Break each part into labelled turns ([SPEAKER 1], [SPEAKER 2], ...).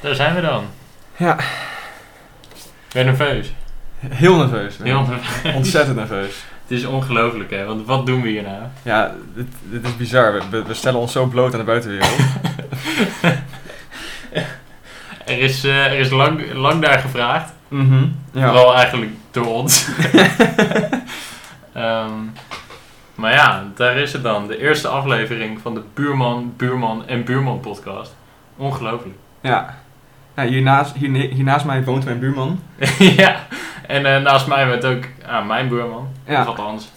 [SPEAKER 1] Daar zijn we dan.
[SPEAKER 2] Ja.
[SPEAKER 1] Ben je nerveus.
[SPEAKER 2] Heel nerveus.
[SPEAKER 1] Heel nerveus.
[SPEAKER 2] Ontzettend nerveus.
[SPEAKER 1] Het is ongelooflijk, hè? Want wat doen we hier nou?
[SPEAKER 2] Ja, dit, dit is bizar. We- We, we stellen ons zo bloot aan de buitenwereld.
[SPEAKER 1] Er is, eh, er is lang, lang daar gevraagd.
[SPEAKER 2] Mhm. Ja.
[SPEAKER 1] Vooral eigenlijk door ons. Ehm, maar ja, daar is het dan. De eerste aflevering van de Buurman, Buurman en Buurman podcast. Ongelooflijk.
[SPEAKER 2] ja. ja hiernaast, hier, hiernaast mij woont mijn buurman.
[SPEAKER 1] ja, en eh, naast mij werd ook ah, mijn buurman. Of
[SPEAKER 2] Ja.
[SPEAKER 1] althans,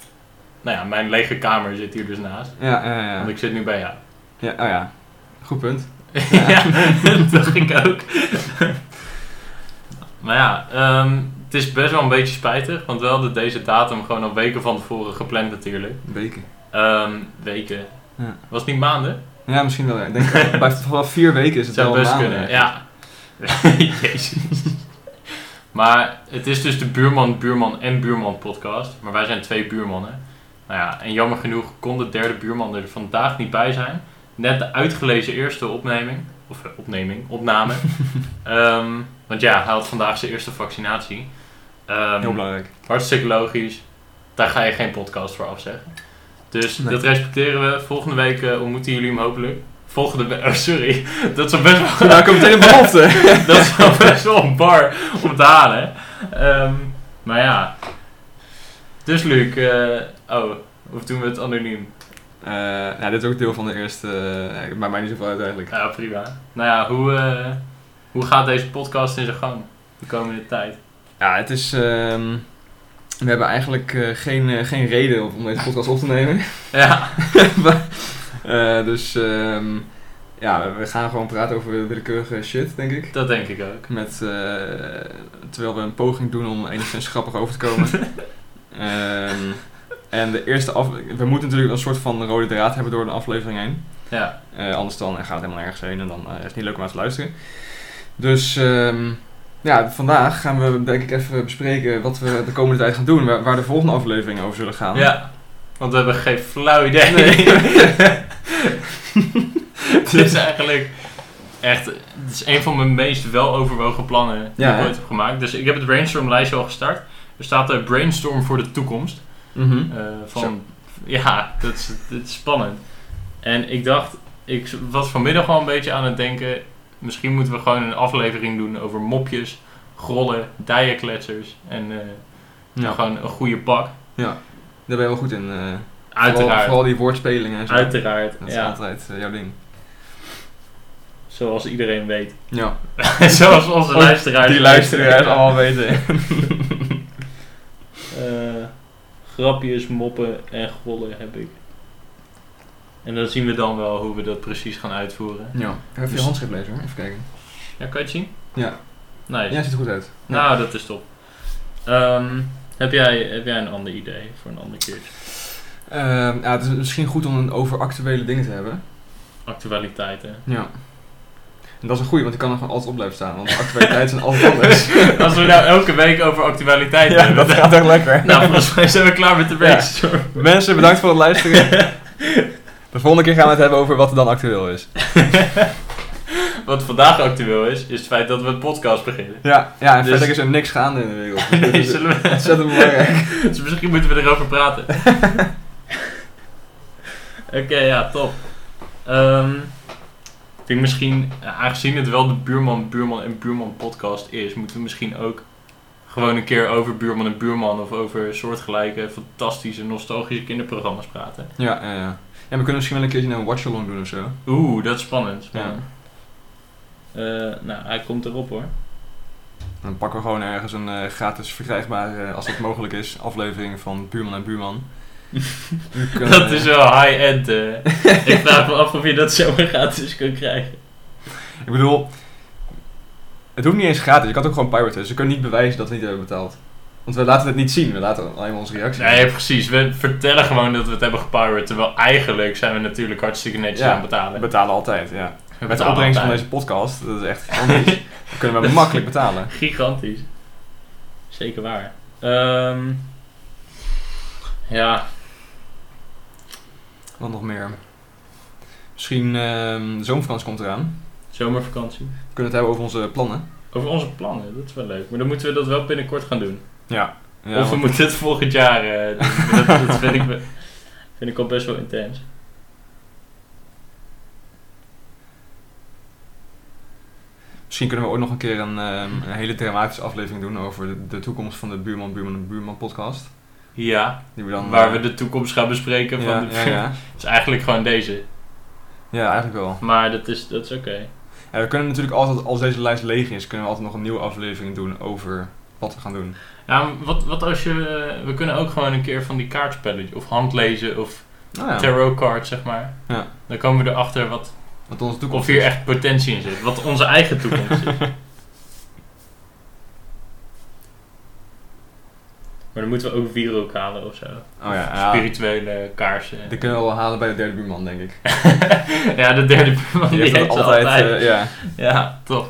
[SPEAKER 1] nou ja, mijn lege kamer zit hier dus naast.
[SPEAKER 2] Ja, ja, ja.
[SPEAKER 1] Want ik zit nu bij jou.
[SPEAKER 2] ja, oh ja. Goed punt.
[SPEAKER 1] Ja, dat dacht ik ook. maar ja, ehm, het is best wel een beetje spijtig. Want we hadden deze datum gewoon al weken van tevoren gepland natuurlijk.
[SPEAKER 2] Weken.
[SPEAKER 1] Ehm, weken.
[SPEAKER 2] Ja.
[SPEAKER 1] Was het niet maanden?
[SPEAKER 2] Ja, misschien wel. ja. Ik denk eh, bij vanaf vier weken is
[SPEAKER 1] Het
[SPEAKER 2] het
[SPEAKER 1] zou
[SPEAKER 2] wel
[SPEAKER 1] best
[SPEAKER 2] maanden,
[SPEAKER 1] kunnen,
[SPEAKER 2] eigenlijk.
[SPEAKER 1] ja. Jezus. Maar het is dus de buurman, buurman en buurman podcast. Maar wij zijn twee buurmannen. Nou ja, en jammer genoeg kon de derde buurman er vandaag niet bij zijn. Net de uitgelezen eerste opneming. Of eh, opneming, opname. Ehm, want ja, hij had vandaag zijn eerste vaccinatie. Ehm,
[SPEAKER 2] Heel belangrijk.
[SPEAKER 1] Hartstikke logisch. Daar ga je geen podcast voor afzeggen. Dus
[SPEAKER 2] Nee.
[SPEAKER 1] dat respecteren we. Volgende week eh, ontmoeten jullie hem hopelijk. Volgende week... Oh, sorry. Dat is al best wel...
[SPEAKER 2] Nou, ik heb meteen een belofte.
[SPEAKER 1] dat is al best wel een bar om te halen. hè. Ehm, maar ja. Dus Luc... eh, oh, of doen we het anoniem?
[SPEAKER 2] Eh, ja, dit is ook deel van de eerste... eh, maakt mij niet zoveel uit eigenlijk.
[SPEAKER 1] Ja, prima. Nou ja, hoe, eh, hoe gaat deze podcast in zijn gang? De komende tijd.
[SPEAKER 2] Ja, het is... ehm, we hebben eigenlijk eh, geen, eh, geen reden om deze podcast op te nemen.
[SPEAKER 1] Ja.
[SPEAKER 2] Maar, eh, dus ehm, ja, we gaan gewoon praten over willekeurige shit, denk ik.
[SPEAKER 1] Dat denk ik ook.
[SPEAKER 2] Met, eh, terwijl we een poging doen om enigszins grappig over te komen. Ehm, en de eerste af... We moeten natuurlijk een soort van rode draad hebben door de aflevering heen.
[SPEAKER 1] Ja.
[SPEAKER 2] Eh, anders dan eh, gaat het helemaal nergens heen en dan eh, is het niet leuk om naar te luisteren. Dus ehm, ja, vandaag gaan we denk ik even bespreken wat we de komende tijd gaan doen. Waar, waar de volgende afleveringen over zullen gaan.
[SPEAKER 1] Ja. Want we hebben geen flauw idee. Het is eigenlijk echt, het is een van mijn meest weloverwogen plannen die
[SPEAKER 2] Ja,
[SPEAKER 1] ik
[SPEAKER 2] hè?
[SPEAKER 1] ooit heb gemaakt. Dus ik heb het brainstorm lijstje al gestart. Er staat eh, brainstorm voor de toekomst.
[SPEAKER 2] Mhm.
[SPEAKER 1] Eh,
[SPEAKER 2] Zo.
[SPEAKER 1] van, ja, dat is, dat is spannend. En ik dacht, ik was vanmiddag al een beetje aan het denken, misschien moeten we gewoon een aflevering doen over mopjes, grollen, dijenkletsers en eh,
[SPEAKER 2] Ja.
[SPEAKER 1] gewoon een goede pak.
[SPEAKER 2] Daar ben je wel goed in. eh. Vooral- Vooral,
[SPEAKER 1] Uiteraard,
[SPEAKER 2] die woordspelingen en zo.
[SPEAKER 1] uiteraard,
[SPEAKER 2] Dat is
[SPEAKER 1] ja,
[SPEAKER 2] altijd eh, jouw ding.
[SPEAKER 1] zoals iedereen weet.
[SPEAKER 2] Ja.
[SPEAKER 1] zoals onze
[SPEAKER 2] Ook
[SPEAKER 1] luisteraars
[SPEAKER 2] Die luisteraars allemaal weten.
[SPEAKER 1] Eh, grapjes, moppen en grollen heb ik. En dan zien we dan wel hoe we dat precies gaan uitvoeren.
[SPEAKER 2] Ja. Even je
[SPEAKER 1] Dus-
[SPEAKER 2] handschrift lezen hoor. Even kijken.
[SPEAKER 1] Ja, kan je het zien?
[SPEAKER 2] Ja.
[SPEAKER 1] Nice.
[SPEAKER 2] Ja, ziet er goed uit. Ja.
[SPEAKER 1] Nou, dat is top. Ehm, heb, jij, heb jij een ander idee voor een ander keertje?
[SPEAKER 2] Ehm, ja, het is misschien goed om een over actuele dingen te hebben.
[SPEAKER 1] Actualiteiten.
[SPEAKER 2] Ja. En dat is een goeie, want die kan er gewoon altijd op blijven staan. Want de actualiteit zijn altijd anders.
[SPEAKER 1] Als we nou elke week over actualiteiten hebben. dan-
[SPEAKER 2] echt lekker.
[SPEAKER 1] Nou, volgens mij zijn we klaar met de brainstorm.
[SPEAKER 2] Mensen, bedankt voor het luisteren. De volgende keer gaan we het hebben over wat er dan actueel is.
[SPEAKER 1] Wat vandaag actueel is, is het feit dat we een podcast beginnen.
[SPEAKER 2] Ja, ja en
[SPEAKER 1] Dus-
[SPEAKER 2] verder is er niks gaande in de wereld. Dat
[SPEAKER 1] Nee,
[SPEAKER 2] is
[SPEAKER 1] zullen we-
[SPEAKER 2] ontzettend belangrijk.
[SPEAKER 1] Dus misschien moeten we erover praten. Oké, ja, top. Ehm, ik denk misschien, eh, aangezien het wel de buurman, buurman en buurman podcast is, moeten we misschien ook gewoon een keer over buurman en buurman of over soortgelijke, fantastische, nostalgische kinderprogramma's praten.
[SPEAKER 2] Ja, ja, ja. En we kunnen misschien wel een keertje een watch-along doen of zo.
[SPEAKER 1] Oeh, dat is spannend.
[SPEAKER 2] Ja.
[SPEAKER 1] spannend. Eh, nou, hij komt erop hoor.
[SPEAKER 2] Dan pakken we gewoon ergens een eh, gratis verkrijgbare, eh, als dat mogelijk is, aflevering van Buurman en Buurman. eh, Dan kunnen
[SPEAKER 1] Dat
[SPEAKER 2] we-
[SPEAKER 1] is wel high-end. eh. ik vraag me af of je dat zomaar gratis kunt krijgen.
[SPEAKER 2] Ik bedoel, het hoeft niet eens gratis. Je kan het ook gewoon piraten. Dus we kunnen niet bewijzen dat we niet hebben betaald. Want we laten het niet zien. We laten alleen maar onze reactie.
[SPEAKER 1] Nee, precies. We vertellen gewoon dat we het hebben gepirate. Terwijl eigenlijk zijn we natuurlijk hartstikke netjes
[SPEAKER 2] Ja,
[SPEAKER 1] aan het
[SPEAKER 2] We
[SPEAKER 1] betalen.
[SPEAKER 2] betalen altijd, ja.
[SPEAKER 1] We
[SPEAKER 2] Met de
[SPEAKER 1] betalen
[SPEAKER 2] opbrengst van
[SPEAKER 1] altijd.
[SPEAKER 2] deze podcast, dat is echt gigantisch. Dan kunnen we makkelijk betalen.
[SPEAKER 1] Gigantisch. Zeker waar. Ehm, ja,
[SPEAKER 2] Wat nog meer? Misschien ehm de zomervakantie komt eraan.
[SPEAKER 1] Zomervakantie.
[SPEAKER 2] We kunnen het hebben over onze plannen.
[SPEAKER 1] Over onze plannen, dat is wel leuk. Maar dan moeten we dat wel binnenkort gaan doen.
[SPEAKER 2] Ja. ja
[SPEAKER 1] of we
[SPEAKER 2] want-
[SPEAKER 1] moeten het volgend jaar eh, doen. dat, dat vind, ik, wel- vind ik al best wel intens.
[SPEAKER 2] Misschien kunnen we ook nog een keer een, ehm, een hele dramatische aflevering doen over de, de toekomst van de Buurman, Buurman en Buurman podcast.
[SPEAKER 1] Ja,
[SPEAKER 2] Die we dan,
[SPEAKER 1] waar
[SPEAKER 2] eh,
[SPEAKER 1] we de toekomst gaan bespreken. Van
[SPEAKER 2] ja,
[SPEAKER 1] de,
[SPEAKER 2] ja, ja.
[SPEAKER 1] Dat is eigenlijk gewoon deze.
[SPEAKER 2] ja, eigenlijk wel.
[SPEAKER 1] Maar dat is, dat is oké.
[SPEAKER 2] En we kunnen natuurlijk altijd, als deze lijst leeg is, kunnen we altijd nog een nieuwe aflevering doen over wat we gaan doen.
[SPEAKER 1] Ja, maar wat, wat als je... eh, We kunnen ook gewoon een keer van die kaartspellen... Of handlezen of
[SPEAKER 2] Nou ja,
[SPEAKER 1] tarot cards, zeg maar.
[SPEAKER 2] Ja.
[SPEAKER 1] Dan komen we erachter wat,
[SPEAKER 2] wat onze
[SPEAKER 1] of
[SPEAKER 2] toekomst
[SPEAKER 1] hier
[SPEAKER 2] is.
[SPEAKER 1] echt potentie in zit. Wat onze eigen toekomst is. Maar dan moeten we ook wierook halen of zo.
[SPEAKER 2] Oh ja, ja.
[SPEAKER 1] Spirituele kaarsen.
[SPEAKER 2] Die kunnen we wel halen bij de derde buurman, denk ik.
[SPEAKER 1] ja, de derde buurman Oh, die,
[SPEAKER 2] Die heeft
[SPEAKER 1] heeft
[SPEAKER 2] dat
[SPEAKER 1] ze
[SPEAKER 2] altijd,
[SPEAKER 1] altijd.
[SPEAKER 2] eh, ja.
[SPEAKER 1] ja, toch.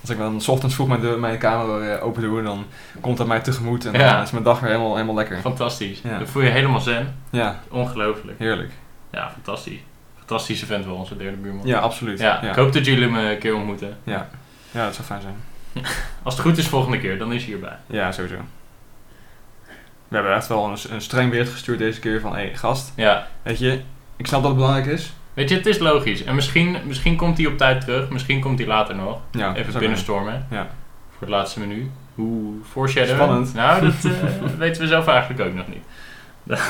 [SPEAKER 2] Als ik dan 's ochtends vroeg mijn, deur- mijn kamer eh, open doe, dan komt dat mij tegemoet en
[SPEAKER 1] Ja.
[SPEAKER 2] dan is mijn dag weer helemaal, helemaal lekker.
[SPEAKER 1] Fantastisch.
[SPEAKER 2] Ja.
[SPEAKER 1] Dan voel je helemaal zen.
[SPEAKER 2] Ja,
[SPEAKER 1] Ongelooflijk.
[SPEAKER 2] heerlijk.
[SPEAKER 1] Ja, fantastisch. Fantastische vent wel, onze derde buurman.
[SPEAKER 2] Ja, absoluut.
[SPEAKER 1] Ja,
[SPEAKER 2] ja.
[SPEAKER 1] ik hoop dat jullie hem eh, een keer ontmoeten.
[SPEAKER 2] Ja, dat zou fijn zijn.
[SPEAKER 1] Als het goed is, volgende keer, dan is hij hierbij.
[SPEAKER 2] Ja, sowieso. We hebben echt wel een, een streng bericht gestuurd deze keer van, hé hey, gast,
[SPEAKER 1] Ja.
[SPEAKER 2] weet je, ik snap dat het belangrijk is.
[SPEAKER 1] Weet je, het is logisch. En misschien, misschien komt hij op tijd terug, misschien komt hij later nog.
[SPEAKER 2] Ja,
[SPEAKER 1] Even
[SPEAKER 2] zou
[SPEAKER 1] binnenstormen.
[SPEAKER 2] Ja.
[SPEAKER 1] Voor het laatste menu. Hoe foreshadow.
[SPEAKER 2] Spannend.
[SPEAKER 1] Nou, dat eh, weten we zelf eigenlijk ook nog niet.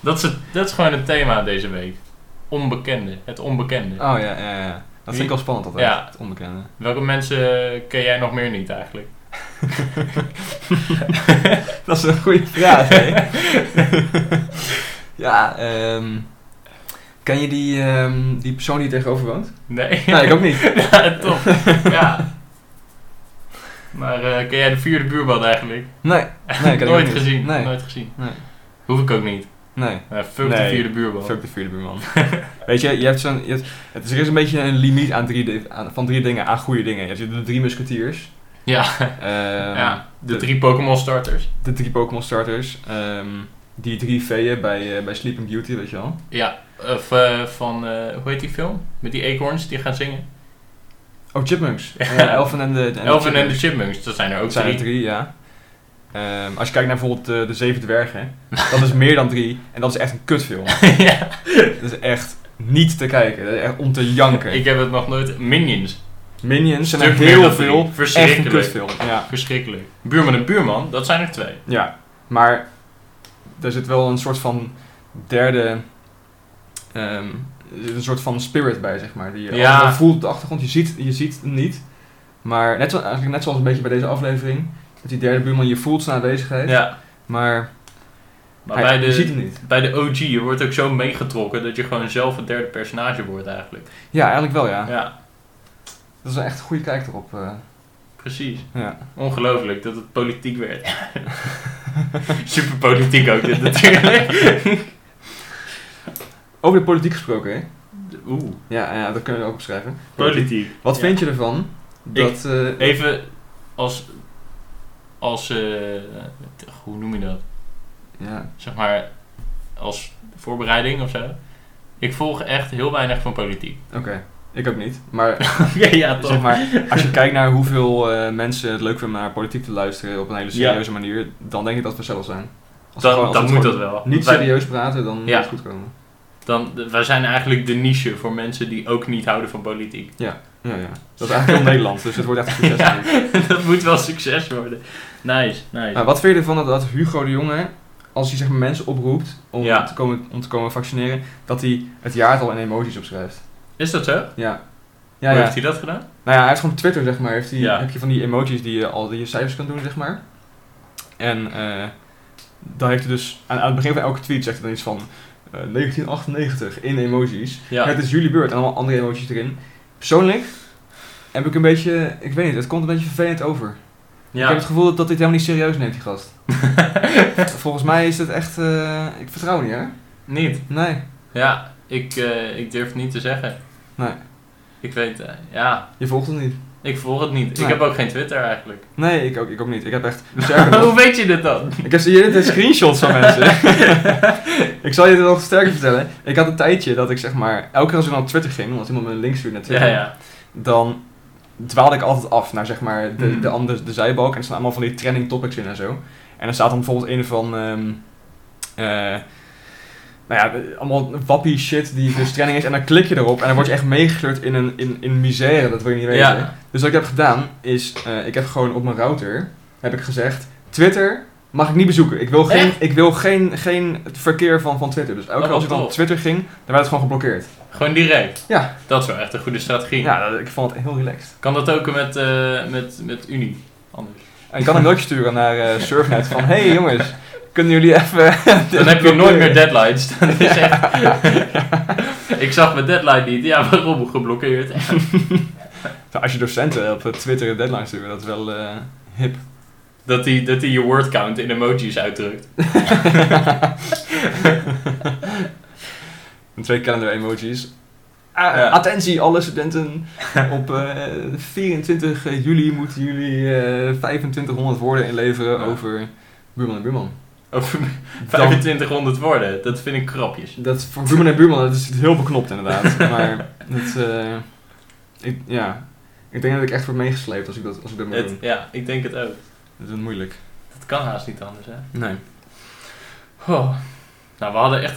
[SPEAKER 1] dat, is het, dat is gewoon het thema deze week. Onbekende. Het onbekende.
[SPEAKER 2] kunnen. Oh ja, ja, ja. Dat
[SPEAKER 1] Wie-
[SPEAKER 2] vind ik al spannend altijd,
[SPEAKER 1] Ja.
[SPEAKER 2] het onbekende.
[SPEAKER 1] Welke mensen ken jij nog meer niet eigenlijk?
[SPEAKER 2] Dat is een goede vraag, hè? ja, ehm, ken je die, ehm, die persoon die tegenover woont?
[SPEAKER 1] Nee.
[SPEAKER 2] Nee, ik ook niet.
[SPEAKER 1] ja, top. ja. Maar eh, ken jij de vierde buurman eigenlijk?
[SPEAKER 2] Nee, nee, ik ken
[SPEAKER 1] Nooit
[SPEAKER 2] ik ook niet.
[SPEAKER 1] gezien.
[SPEAKER 2] Nee.
[SPEAKER 1] Nooit gezien.
[SPEAKER 2] Nee.
[SPEAKER 1] Hoef ik ook niet.
[SPEAKER 2] Nee,
[SPEAKER 1] Eh, fuck de
[SPEAKER 2] Nee.
[SPEAKER 1] vierde buurman.
[SPEAKER 2] fuck de vierde buurman. Weet je, je hebt zo'n... je hebt- het is, er is een beetje een limiet aan drie, di- aan, van drie dingen, aan goede dingen. Je hebt de drie musketiers.
[SPEAKER 1] Ja.
[SPEAKER 2] ehm,
[SPEAKER 1] ja. De
[SPEAKER 2] de-
[SPEAKER 1] drie Pokémon starters.
[SPEAKER 2] De drie Pokémon starters. ehm, die drie veeën bij, eh, bij Sleeping Beauty, weet je wel.
[SPEAKER 1] Ja, of eh, van, eh, hoe heet die film? Met die eekhoorns die gaan zingen.
[SPEAKER 2] Oh, Chipmunks. Ja, Elfen en de... en de
[SPEAKER 1] Elven en de
[SPEAKER 2] Chipmunks.
[SPEAKER 1] Chipmunks, dat zijn er ook
[SPEAKER 2] Dat zijn er
[SPEAKER 1] drie.
[SPEAKER 2] drie, ja. Ehm, als je kijkt naar bijvoorbeeld eh, De Zeven Dwergen, dat is meer dan drie. En dat is echt een kutfilm.
[SPEAKER 1] ja.
[SPEAKER 2] Dat is echt niet te kijken. Dat is echt om te janken.
[SPEAKER 1] Ik heb het nog nooit... Minions.
[SPEAKER 2] Minions zijn er
[SPEAKER 1] Stuk meer
[SPEAKER 2] heel
[SPEAKER 1] dan
[SPEAKER 2] veel.
[SPEAKER 1] drie.
[SPEAKER 2] Echt een
[SPEAKER 1] Verschrikkelijk.
[SPEAKER 2] kutfilm. Ja.
[SPEAKER 1] Verschrikkelijk. Buurman en buurman, dat zijn er twee.
[SPEAKER 2] ja. Maar er zit wel een soort van derde... ehm, er zit een soort van spirit bij, zeg maar. Die je
[SPEAKER 1] Ja.
[SPEAKER 2] allemaal voelt op de achtergrond. Je ziet, je ziet hem niet. Maar net, zo, eigenlijk net zoals een beetje bij deze aflevering. Dat die derde buurman je voelt zijn aanwezigheid.
[SPEAKER 1] Ja.
[SPEAKER 2] Maar,
[SPEAKER 1] Maar
[SPEAKER 2] hij-
[SPEAKER 1] bij
[SPEAKER 2] je ziet hem
[SPEAKER 1] de,
[SPEAKER 2] niet.
[SPEAKER 1] bij de OG, je wordt ook zo meegetrokken dat je gewoon zelf het derde personage wordt eigenlijk.
[SPEAKER 2] Ja, eigenlijk wel, ja.
[SPEAKER 1] Ja,
[SPEAKER 2] Dat is een echt goede kijk erop. eh.
[SPEAKER 1] precies.
[SPEAKER 2] ja.
[SPEAKER 1] Ongelooflijk dat het politiek werd. Super politiek ook dit natuurlijk.
[SPEAKER 2] Over de politiek gesproken, hè?
[SPEAKER 1] Oeh,
[SPEAKER 2] Ja, ja, dat kunnen we ook beschrijven.
[SPEAKER 1] politiek.
[SPEAKER 2] Wat
[SPEAKER 1] Ja.
[SPEAKER 2] vind je ervan? Dat, eh,
[SPEAKER 1] Even als... Als... eh, hoe noem je dat?
[SPEAKER 2] ja.
[SPEAKER 1] zeg maar, als voorbereiding of zo. Ik volg echt heel weinig van politiek. Dus
[SPEAKER 2] Oké, ik ook niet. Maar,
[SPEAKER 1] ja, ja,
[SPEAKER 2] zeg maar als je kijkt naar hoeveel eh, mensen het leuk vinden om naar politiek te luisteren op een hele
[SPEAKER 1] Ja.
[SPEAKER 2] serieuze manier, dan denk ik dat we zelf zijn. Als we
[SPEAKER 1] Dan,
[SPEAKER 2] gewoon- als
[SPEAKER 1] dan
[SPEAKER 2] we
[SPEAKER 1] moet
[SPEAKER 2] gewoon
[SPEAKER 1] dat wel.
[SPEAKER 2] Niet
[SPEAKER 1] Wij-
[SPEAKER 2] serieus praten, dan
[SPEAKER 1] Ja.
[SPEAKER 2] moet het goed komen.
[SPEAKER 1] Dan, d- wij zijn eigenlijk de niche voor mensen die ook niet houden van politiek.
[SPEAKER 2] Ja, ja. Dat is eigenlijk heel Nederland, dus het wordt echt een succes.
[SPEAKER 1] Ja.
[SPEAKER 2] denk ik.
[SPEAKER 1] dat moet wel succes worden. Nice, nice.
[SPEAKER 2] Nou, wat vind je ervan dat, dat Hugo de Jonge, als hij zeg maar, mensen oproept om,
[SPEAKER 1] Ja.
[SPEAKER 2] te komen, om te komen vaccineren, dat hij het jaartal in emoties opschrijft?
[SPEAKER 1] Is dat zo?
[SPEAKER 2] Ja.
[SPEAKER 1] Hoe
[SPEAKER 2] Ja, ja.
[SPEAKER 1] heeft hij dat gedaan?
[SPEAKER 2] Nou ja, hij heeft gewoon op Twitter, zeg maar. Heeft hij,
[SPEAKER 1] Ja.
[SPEAKER 2] Heb je van die emojis die je al die je cijfers kan doen, zeg maar. En eh daar heeft hij dus... Aan, aan het begin van elke tweet zegt hij dan iets van... eh, 1998 in emojis.
[SPEAKER 1] Ja.
[SPEAKER 2] Het is jullie beurt en allemaal andere emojis erin. Persoonlijk heb ik een beetje... Ik weet niet, het komt een beetje vervelend over. Ik heb
[SPEAKER 1] ja.
[SPEAKER 2] het gevoel dat, dat dit helemaal niet serieus neemt, die gast. Volgens mij is het echt... eh, ik vertrouw niet, hè?
[SPEAKER 1] Niet.
[SPEAKER 2] Nee.
[SPEAKER 1] Ja, ik, eh, ik durf het niet te zeggen.
[SPEAKER 2] Nee.
[SPEAKER 1] Ik weet, eh, ja,
[SPEAKER 2] Je volgt het niet.
[SPEAKER 1] Ik volg het niet.
[SPEAKER 2] Nee.
[SPEAKER 1] Ik heb ook geen Twitter eigenlijk.
[SPEAKER 2] Nee, ik ook, ik ook niet. Ik heb echt... sterker nog,
[SPEAKER 1] Hoe weet je dit dan?
[SPEAKER 2] Ik heb hier net screenshots van mensen. ik zal je het nog sterker vertellen. Ik had een tijdje dat ik zeg maar... Elke keer als ik dan op Twitter ging, omdat iemand me een link stuurde naar
[SPEAKER 1] Ja,
[SPEAKER 2] Twitter...
[SPEAKER 1] ja.
[SPEAKER 2] Dan dwaalde ik altijd af naar zeg maar de,
[SPEAKER 1] Mhm.
[SPEAKER 2] de, andere, de zijbalk. En er staan allemaal van die trending topics in en zo. En er staat dan bijvoorbeeld een van... ehm, eh, nou ja, allemaal wappie shit die dus trending is. En dan klik je erop en dan word je echt meegesleurd in, een, in, in misère. Dat wil je niet weten.
[SPEAKER 1] ja.
[SPEAKER 2] Dus wat ik heb gedaan is, eh, ik heb gewoon op mijn router heb ik gezegd, Twitter mag ik niet bezoeken. Ik wil geen,
[SPEAKER 1] Echt?
[SPEAKER 2] ik wil geen, geen verkeer van, van Twitter. Dus elke
[SPEAKER 1] Oh,
[SPEAKER 2] keer als ik dan op
[SPEAKER 1] tof.
[SPEAKER 2] Twitter ging, dan werd het gewoon geblokkeerd.
[SPEAKER 1] Gewoon direct.
[SPEAKER 2] Ja.
[SPEAKER 1] Dat is wel echt een goede strategie.
[SPEAKER 2] Ja, dat- ik vond het heel relaxed.
[SPEAKER 1] Kan dat ook met, eh, met, met Unie? Anders.
[SPEAKER 2] En ik kan een mailtje sturen naar eh, Surfnet van, hey jongens, kunnen jullie even...
[SPEAKER 1] Dan heb je nooit meer deadlines. Dat is echt... Ik zag mijn deadline niet. Ja, waarom? Geblokkeerd.
[SPEAKER 2] Nou, als je docenten op Twitter een deadline sturen, dat is wel eh, hip.
[SPEAKER 1] Dat hij dat die je wordcount in emojis uitdrukt.
[SPEAKER 2] Met twee calendar emojis. Ah,
[SPEAKER 1] Ja.
[SPEAKER 2] Attentie alle studenten. Op eh, 24 juli moeten jullie eh 2500 woorden inleveren
[SPEAKER 1] Ja.
[SPEAKER 2] over buurman en buurman.
[SPEAKER 1] Over
[SPEAKER 2] Dan,
[SPEAKER 1] 2500 woorden. Dat vind ik krapjes.
[SPEAKER 2] dat, voor buurman en buurman dat is heel beknopt inderdaad. maar dat, eh, ik, ja. ik denk dat ik echt word meegesleept als ik dat, als ik dat moet
[SPEAKER 1] Het,
[SPEAKER 2] doen.
[SPEAKER 1] ja, ik denk het ook.
[SPEAKER 2] Dat is moeilijk.
[SPEAKER 1] Dat kan haast niet anders, hè?
[SPEAKER 2] Nee.
[SPEAKER 1] Oh. Nou, we hadden echt...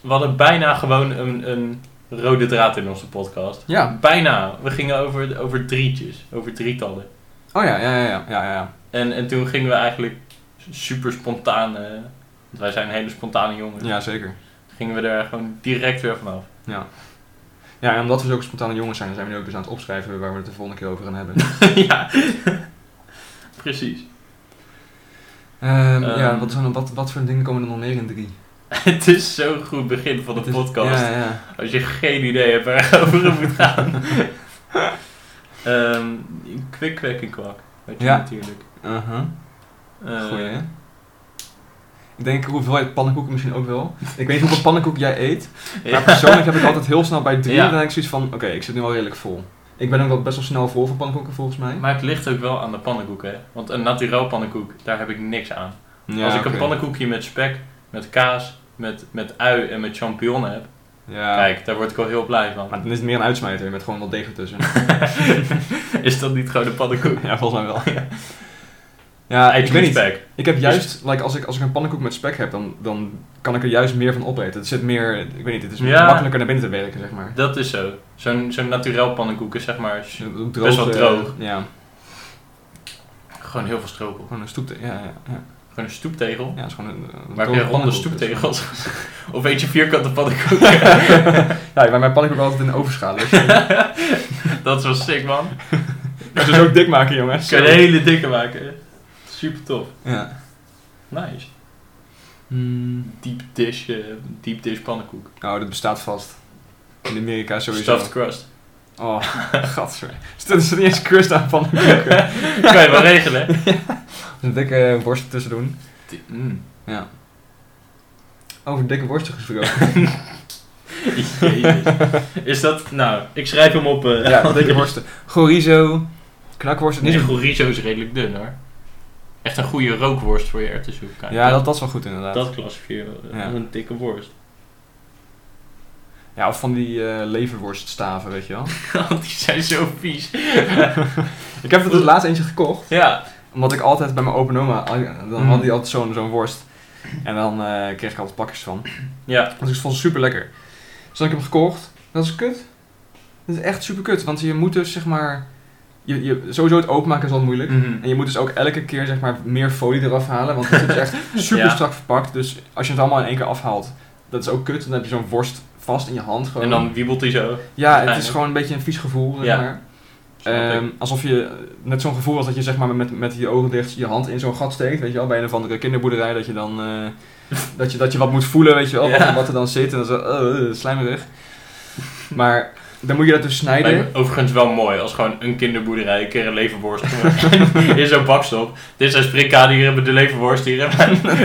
[SPEAKER 1] We hadden bijna gewoon een, een rode draad in onze podcast.
[SPEAKER 2] Ja.
[SPEAKER 1] Bijna. We gingen over, over drietjes. Over drietallen.
[SPEAKER 2] Oh ja, ja, ja, ja. ja, ja, ja.
[SPEAKER 1] En, en toen gingen we eigenlijk super spontaan... eh, want wij zijn hele spontane jongens.
[SPEAKER 2] ja zeker.
[SPEAKER 1] Gingen we er gewoon direct weer vanaf.
[SPEAKER 2] Ja, en omdat we zulke spontane jongens zijn, zijn we nu ook dus aan het opschrijven waar we het de volgende keer over gaan hebben.
[SPEAKER 1] ja. Precies.
[SPEAKER 2] Ehm, ja,
[SPEAKER 1] Ehm.
[SPEAKER 2] wat, zijn, wat, wat voor dingen komen er nog meer in drie?
[SPEAKER 1] Het is zo'n goed begin van de
[SPEAKER 2] Het is-
[SPEAKER 1] podcast.
[SPEAKER 2] Ja, ja.
[SPEAKER 1] Als je geen idee hebt waarover het moet gaan. Ehm kwik, kwek en kwak. Weet je
[SPEAKER 2] Ja.
[SPEAKER 1] natuurlijk.
[SPEAKER 2] Uh-huh.
[SPEAKER 1] Eh,
[SPEAKER 2] Goeie, hè? Ik denk hoeveelheid pannenkoeken misschien ook wel. Ik weet niet hoeveel pannenkoek jij eet.
[SPEAKER 1] ja.
[SPEAKER 2] Maar persoonlijk heb ik altijd heel snel bij drie.
[SPEAKER 1] Ja.
[SPEAKER 2] Dan denk ik zoiets van, oké, ik zit nu al redelijk vol. Ik ben ook wel best wel snel vol van pannenkoeken volgens mij.
[SPEAKER 1] Maar het ligt ook wel aan de pannenkoek, hè. Want een naturel pannenkoek, daar heb ik niks aan.
[SPEAKER 2] Ja,
[SPEAKER 1] Als ik
[SPEAKER 2] oké.
[SPEAKER 1] een pannenkoekje met spek, met kaas, met, met ui en met champignon heb...
[SPEAKER 2] Ja.
[SPEAKER 1] Kijk, daar word ik al heel blij van.
[SPEAKER 2] Maar dan is het meer een uitsmijter met gewoon wat deeg ertussen.
[SPEAKER 1] is dat niet gewoon een pannenkoek?
[SPEAKER 2] ja, volgens mij wel. Ja,
[SPEAKER 1] Eitje
[SPEAKER 2] ik weet
[SPEAKER 1] met
[SPEAKER 2] niet.
[SPEAKER 1] spek.
[SPEAKER 2] Ik heb juist, like, als, ik, als ik een pannenkoek met spek heb, dan, dan kan ik er juist meer van opeten. Het zit meer, ik weet niet, het is
[SPEAKER 1] Ja.
[SPEAKER 2] makkelijker naar binnen te werken, zeg maar.
[SPEAKER 1] Dat is zo. Zo'n zo'n naturel pannenkoek is zeg maar... s-
[SPEAKER 2] Droog,
[SPEAKER 1] Best wel
[SPEAKER 2] eh,
[SPEAKER 1] droog.
[SPEAKER 2] Ja,
[SPEAKER 1] Gewoon heel veel stroop op.
[SPEAKER 2] gewoon een stoep. Ja, ja, ja.
[SPEAKER 1] Gewoon een stoeptegel.
[SPEAKER 2] Ja, het is gewoon een, een
[SPEAKER 1] Maar heb
[SPEAKER 2] droge
[SPEAKER 1] je ronde
[SPEAKER 2] pannenkoek, dus-
[SPEAKER 1] stoeptegels? of eet je vierkante pannenkoek?
[SPEAKER 2] ja, ik- maar mijn pannenkoek altijd in de overschaal. Dus
[SPEAKER 1] dat was sick, man.
[SPEAKER 2] moet ze zo dik maken, jongens.
[SPEAKER 1] Kan je een hele dikke maken. Super tof.
[SPEAKER 2] Ja.
[SPEAKER 1] Nice. Deep dish, eh, deep dish pannenkoek.
[SPEAKER 2] Nou, dat bestaat vast. In Amerika sowieso.
[SPEAKER 1] Stuffed crust.
[SPEAKER 2] Oh, gadver. Dus dat is niet eens crust aan pannenkoeken.
[SPEAKER 1] kan je wel regelen. hè?
[SPEAKER 2] een dikke worst ertussen doen.
[SPEAKER 1] Die- mm.
[SPEAKER 2] Ja. Over dikke worsten gesproken.
[SPEAKER 1] Jezus. Is dat... Nou, ik schrijf hem op... eh
[SPEAKER 2] ja, dikke worsten. Chorizo. Knakworsten. Niet
[SPEAKER 1] Nee,
[SPEAKER 2] zo
[SPEAKER 1] chorizo is redelijk dun, hoor. Echt een goede rookworst voor je erwtensoep. Kijk,
[SPEAKER 2] Ja, dat, dat is wel goed inderdaad.
[SPEAKER 1] Dat klassificeer je wel, eh,
[SPEAKER 2] Ja.
[SPEAKER 1] als een dikke worst.
[SPEAKER 2] Ja, of van die eh, leverworststaven, weet je wel.
[SPEAKER 1] Want die zijn zo vies.
[SPEAKER 2] ik heb er dus laatst eentje gekocht.
[SPEAKER 1] Ja.
[SPEAKER 2] Omdat ik altijd bij mijn open oma, dan
[SPEAKER 1] Mm.
[SPEAKER 2] had die altijd zo'n zo'n worst. En dan eh, kreeg ik altijd pakjes van.
[SPEAKER 1] Ja.
[SPEAKER 2] Dus ik vond het super lekker. Dus dan heb ik hem gekocht. Dat is kut. Dat is echt super kut. Want je moet dus zeg maar. Je, je, sowieso het openmaken is al moeilijk.
[SPEAKER 1] Mhm.
[SPEAKER 2] En je moet dus ook elke keer zeg maar, meer folie eraf halen. Want het is echt super
[SPEAKER 1] Ja.
[SPEAKER 2] strak verpakt. Dus als je het allemaal in één keer afhaalt, dat is ook kut. Dan heb je zo'n worst vast in je hand. Gewoon.
[SPEAKER 1] En dan wiebelt hij zo.
[SPEAKER 2] ja, het is
[SPEAKER 1] Uiteindelijk.
[SPEAKER 2] gewoon een beetje een vies gevoel. Zeg
[SPEAKER 1] Ja.
[SPEAKER 2] maar.
[SPEAKER 1] Snap ik.
[SPEAKER 2] Ehm, alsof je eh, net zo'n gevoel als dat je zeg maar met, met je ogen dicht je hand in zo'n gat steekt, weet je wel, bij een of andere kinderboerderij, dat je dan eh, dat, je, dat je wat moet voelen, weet je wel,
[SPEAKER 1] Ja.
[SPEAKER 2] wat, wat er dan zit en dan zo, eh, slijmerig. Maar dan moet je dat dus snijden.
[SPEAKER 1] Lijkt me overigens wel mooi als gewoon een kinderboerderij een keer een leverworst in zo'n bakstop. Dit zijn sprinkhanen, hier hebben we de leverworst, hier hebben we...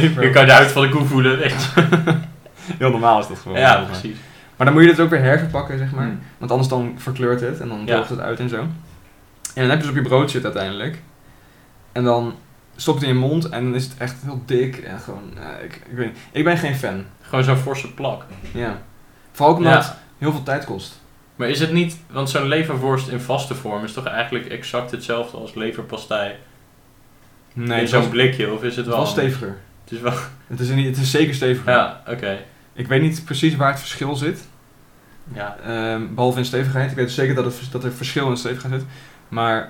[SPEAKER 1] Hier kan je de huid van de koe voelen, weet je.
[SPEAKER 2] Heel normaal is dat gewoon.
[SPEAKER 1] Ja,
[SPEAKER 2] volgens mij.
[SPEAKER 1] precies.
[SPEAKER 2] Maar dan moet je het ook weer herverpakken, zeg maar.
[SPEAKER 1] Mm.
[SPEAKER 2] Want anders dan verkleurt het en dan
[SPEAKER 1] Ja.
[SPEAKER 2] droogt het uit en zo. En dan heb je dus op je brood zitten uiteindelijk. En dan stopt het in je mond en dan is het echt heel dik. En gewoon, eh, ik, ik, weet niet. ik ben geen fan.
[SPEAKER 1] Gewoon zo'n forse plak.
[SPEAKER 2] Ja. Vooral ook omdat het heel veel tijd kost.
[SPEAKER 1] Maar is het niet, want zo'n leverworst in vaste vorm is toch eigenlijk exact hetzelfde als leverpastei
[SPEAKER 2] Nee,
[SPEAKER 1] in
[SPEAKER 2] het was,
[SPEAKER 1] zo'n blikje? Of is het
[SPEAKER 2] het
[SPEAKER 1] wel...
[SPEAKER 2] was steviger.
[SPEAKER 1] Het is wel...
[SPEAKER 2] Het is, niet, het is zeker steviger.
[SPEAKER 1] Ja, oké.
[SPEAKER 2] Ik weet niet precies waar het verschil zit.
[SPEAKER 1] Ja.
[SPEAKER 2] ehm, behalve in stevigheid. Ik weet zeker dat, het, dat er verschil in stevigheid zit. Maar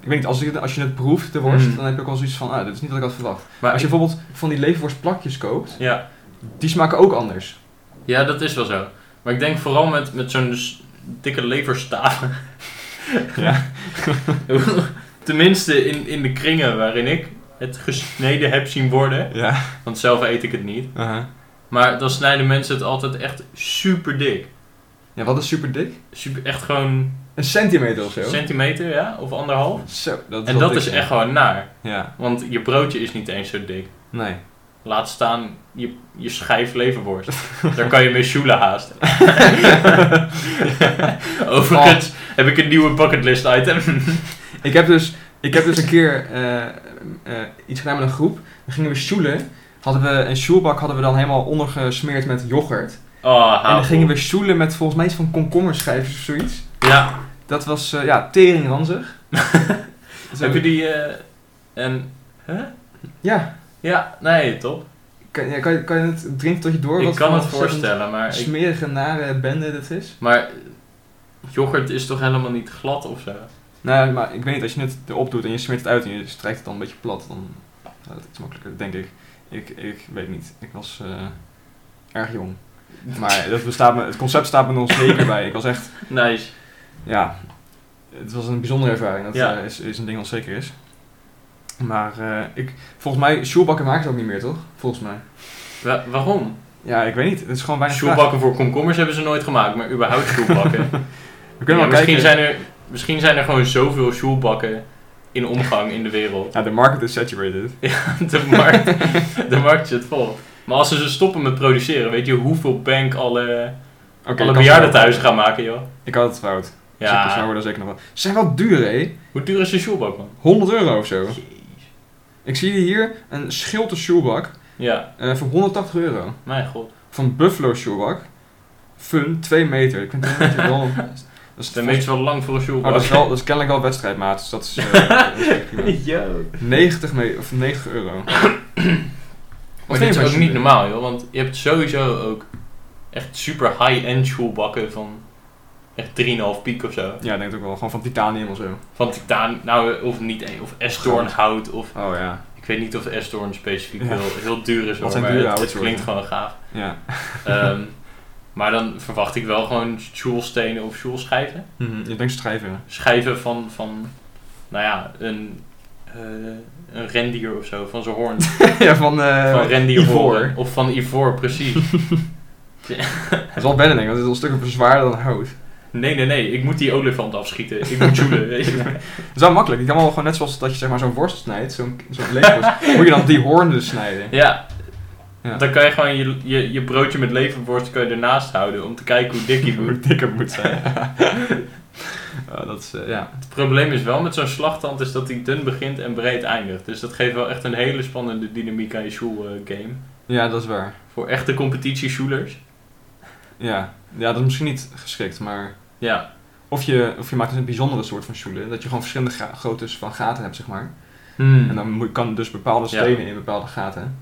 [SPEAKER 2] ik weet niet, als, ik, als je het proeft, de worst,
[SPEAKER 1] Mm.
[SPEAKER 2] dan heb je ook al zoiets van, ah, dit is niet wat ik had verwacht.
[SPEAKER 1] Maar
[SPEAKER 2] als je
[SPEAKER 1] ik-
[SPEAKER 2] bijvoorbeeld van die leverworstplakjes koopt,
[SPEAKER 1] ja.
[SPEAKER 2] die smaken ook anders.
[SPEAKER 1] ja, dat is wel zo. Maar ik denk vooral met, met zo'n s- dikke leverstaven.
[SPEAKER 2] Ja.
[SPEAKER 1] Tenminste in, in de kringen waarin ik het gesneden heb zien worden.
[SPEAKER 2] Ja.
[SPEAKER 1] Want zelf eet ik het niet. Maar dan snijden mensen het altijd echt super dik.
[SPEAKER 2] Ja, wat is super dik?
[SPEAKER 1] Super, echt gewoon
[SPEAKER 2] Een centimeter of zo.
[SPEAKER 1] een centimeter, ja? Of anderhalf.
[SPEAKER 2] zo, dat
[SPEAKER 1] en
[SPEAKER 2] wel
[SPEAKER 1] dat
[SPEAKER 2] dik,
[SPEAKER 1] is
[SPEAKER 2] ja.
[SPEAKER 1] echt gewoon naar.
[SPEAKER 2] Ja,
[SPEAKER 1] Want je broodje is niet eens zo dik.
[SPEAKER 2] nee.
[SPEAKER 1] Laat staan je, je schijf leverworst. Daar kan je mee sjoelen haast. Overigens heb ik een nieuwe bucketlist item.
[SPEAKER 2] Oh, Ik heb dus, ik heb dus een keer eh, eh, iets gedaan met een groep. Dan gingen we sjoelen. Hadden we een sjoelbak hadden we dan helemaal ondergesmeerd met yoghurt.
[SPEAKER 1] Oh,
[SPEAKER 2] En dan
[SPEAKER 1] hapel.
[SPEAKER 2] gingen we sjoelen met volgens mij iets van komkommerschijfjes of zoiets.
[SPEAKER 1] Ja.
[SPEAKER 2] Dat was, eh, ja, teringranzig. Dus
[SPEAKER 1] Heb je die... eh, en...
[SPEAKER 2] Ja,
[SPEAKER 1] Ja, nee, top.
[SPEAKER 2] kan, ja, kan, je- kan je het drinken tot je door?
[SPEAKER 1] ik
[SPEAKER 2] wat
[SPEAKER 1] kan
[SPEAKER 2] voor
[SPEAKER 1] het
[SPEAKER 2] ontzettend
[SPEAKER 1] voorstellen, maar... Ik,
[SPEAKER 2] Smerige, nare bende dat is.
[SPEAKER 1] maar yoghurt is toch helemaal niet glad of zo?
[SPEAKER 2] Nou, maar ik weet niet, als je het erop doet en je smeert het uit en je strijkt het dan een beetje plat, dan gaat het iets makkelijker, denk ik. Ik, ik weet niet. Ik was eh, erg jong. Maar dat bestaat me, het concept staat me nog zeker bij. Ik was echt,
[SPEAKER 1] Nice.
[SPEAKER 2] ja, het was een bijzondere ervaring. Dat
[SPEAKER 1] Ja.
[SPEAKER 2] eh, is, is een ding wat zeker is. Maar eh, ik, volgens mij, sjoelbakken maken ze ook niet meer, toch? Volgens mij.
[SPEAKER 1] Wa- waarom?
[SPEAKER 2] Ja, ik weet niet. Het is gewoon weinig vraag.
[SPEAKER 1] Schoelbakken voor komkommers hebben ze nooit gemaakt, maar überhaupt schoelbakken.
[SPEAKER 2] We kunnen wel
[SPEAKER 1] misschien,
[SPEAKER 2] kijken.
[SPEAKER 1] Zijn er, misschien zijn er gewoon zoveel schoelbakken in omgang in de wereld.
[SPEAKER 2] Ja, de market is saturated.
[SPEAKER 1] Ja, de, markt, de markt zit vol. Maar als ze ze stoppen met produceren, weet je hoeveel bank alle,
[SPEAKER 2] Oké,
[SPEAKER 1] alle
[SPEAKER 2] ik had-
[SPEAKER 1] bejaarden thuis gaan maken, joh?
[SPEAKER 2] Ik had het fout. Ja. Ze
[SPEAKER 1] Ja.
[SPEAKER 2] worden zeker nog wel. Ze zijn wel duur, hè?
[SPEAKER 1] Hoe duur is een schoelbak, man?
[SPEAKER 2] 100 euro of zo. Ik zie hier een schilte shoebak
[SPEAKER 1] Ja,
[SPEAKER 2] eh, voor 180 euro.
[SPEAKER 1] mijn god.
[SPEAKER 2] Van Buffalo shoebak. Fun, 2 meter. Ik vind 2 meter wel... Dat is,
[SPEAKER 1] Ten meest wel lang voor een
[SPEAKER 2] Oh,
[SPEAKER 1] schoelbak.
[SPEAKER 2] dat, is wel, dat is kennelijk wel wedstrijdmaat, dus dat is, eh, dat is echt prima.
[SPEAKER 1] Yo.
[SPEAKER 2] 90, me- of 90 euro.
[SPEAKER 1] Maar dit
[SPEAKER 2] vind je
[SPEAKER 1] is ook
[SPEAKER 2] van
[SPEAKER 1] niet
[SPEAKER 2] schoenen?
[SPEAKER 1] normaal, joh. Want je hebt sowieso ook echt super high-end schoelbakken van echt 3,5 piek of zo.
[SPEAKER 2] Ja, ik denk het ook wel. Gewoon van titanium of zo.
[SPEAKER 1] Van titaan, nou, of niet, of esdoorn hout, of
[SPEAKER 2] Oh ja.
[SPEAKER 1] ik weet niet of esdoorn specifiek
[SPEAKER 2] Ja.
[SPEAKER 1] heel, heel duur is,
[SPEAKER 2] Wat
[SPEAKER 1] hoor,
[SPEAKER 2] zijn
[SPEAKER 1] maar
[SPEAKER 2] dure
[SPEAKER 1] het, het
[SPEAKER 2] houtsoorten?
[SPEAKER 1] klinkt gewoon gaaf.
[SPEAKER 2] Ja.
[SPEAKER 1] Ehm, maar dan verwacht ik wel gewoon sjoelstenen of sjoelschijven.
[SPEAKER 2] Ik denk strijven.
[SPEAKER 1] Schijven van, van nou ja, een, eh, een rendier of zo, van zijn hoorn.
[SPEAKER 2] ja, van, eh
[SPEAKER 1] van rendierhoorn.
[SPEAKER 2] ivoor.
[SPEAKER 1] Of van ivoor, precies.
[SPEAKER 2] Dat is wel bellen, denk ik, want het is al stukken zwaarder dan hout.
[SPEAKER 1] Nee, nee, nee, ik moet die olifant afschieten. Ik moet joelen. weet je.
[SPEAKER 2] Dat is wel makkelijk. Je kan wel gewoon net zoals dat je zeg maar zo'n worst snijdt, zo'n zo'n leverworst, moet je dan die hoorn dus snijden.
[SPEAKER 1] Ja.
[SPEAKER 2] Ja.
[SPEAKER 1] Dan kan je gewoon je, je, je broodje met leverworst kan je ernaast houden om te kijken hoe dik hij wordt.
[SPEAKER 2] Hoe dikker moet zijn. Eh, dat is, eh, ja.
[SPEAKER 1] Het probleem is wel met zo'n slagtand is dat hij dun begint en breed eindigt. Dus dat geeft wel echt een hele spannende dynamiek aan je shoel eh, game.
[SPEAKER 2] ja, dat is waar.
[SPEAKER 1] Voor echte competitie-shoelers.
[SPEAKER 2] Ja. ja, dat is misschien niet geschikt, maar...
[SPEAKER 1] Ja.
[SPEAKER 2] Of je, of je maakt een bijzondere soort van sjoelen, dat je gewoon verschillende gra- groottes van gaten hebt, zeg maar. En dan moet, kan dus bepaalde
[SPEAKER 1] Hmm. Ja.
[SPEAKER 2] stenen in bepaalde gaten.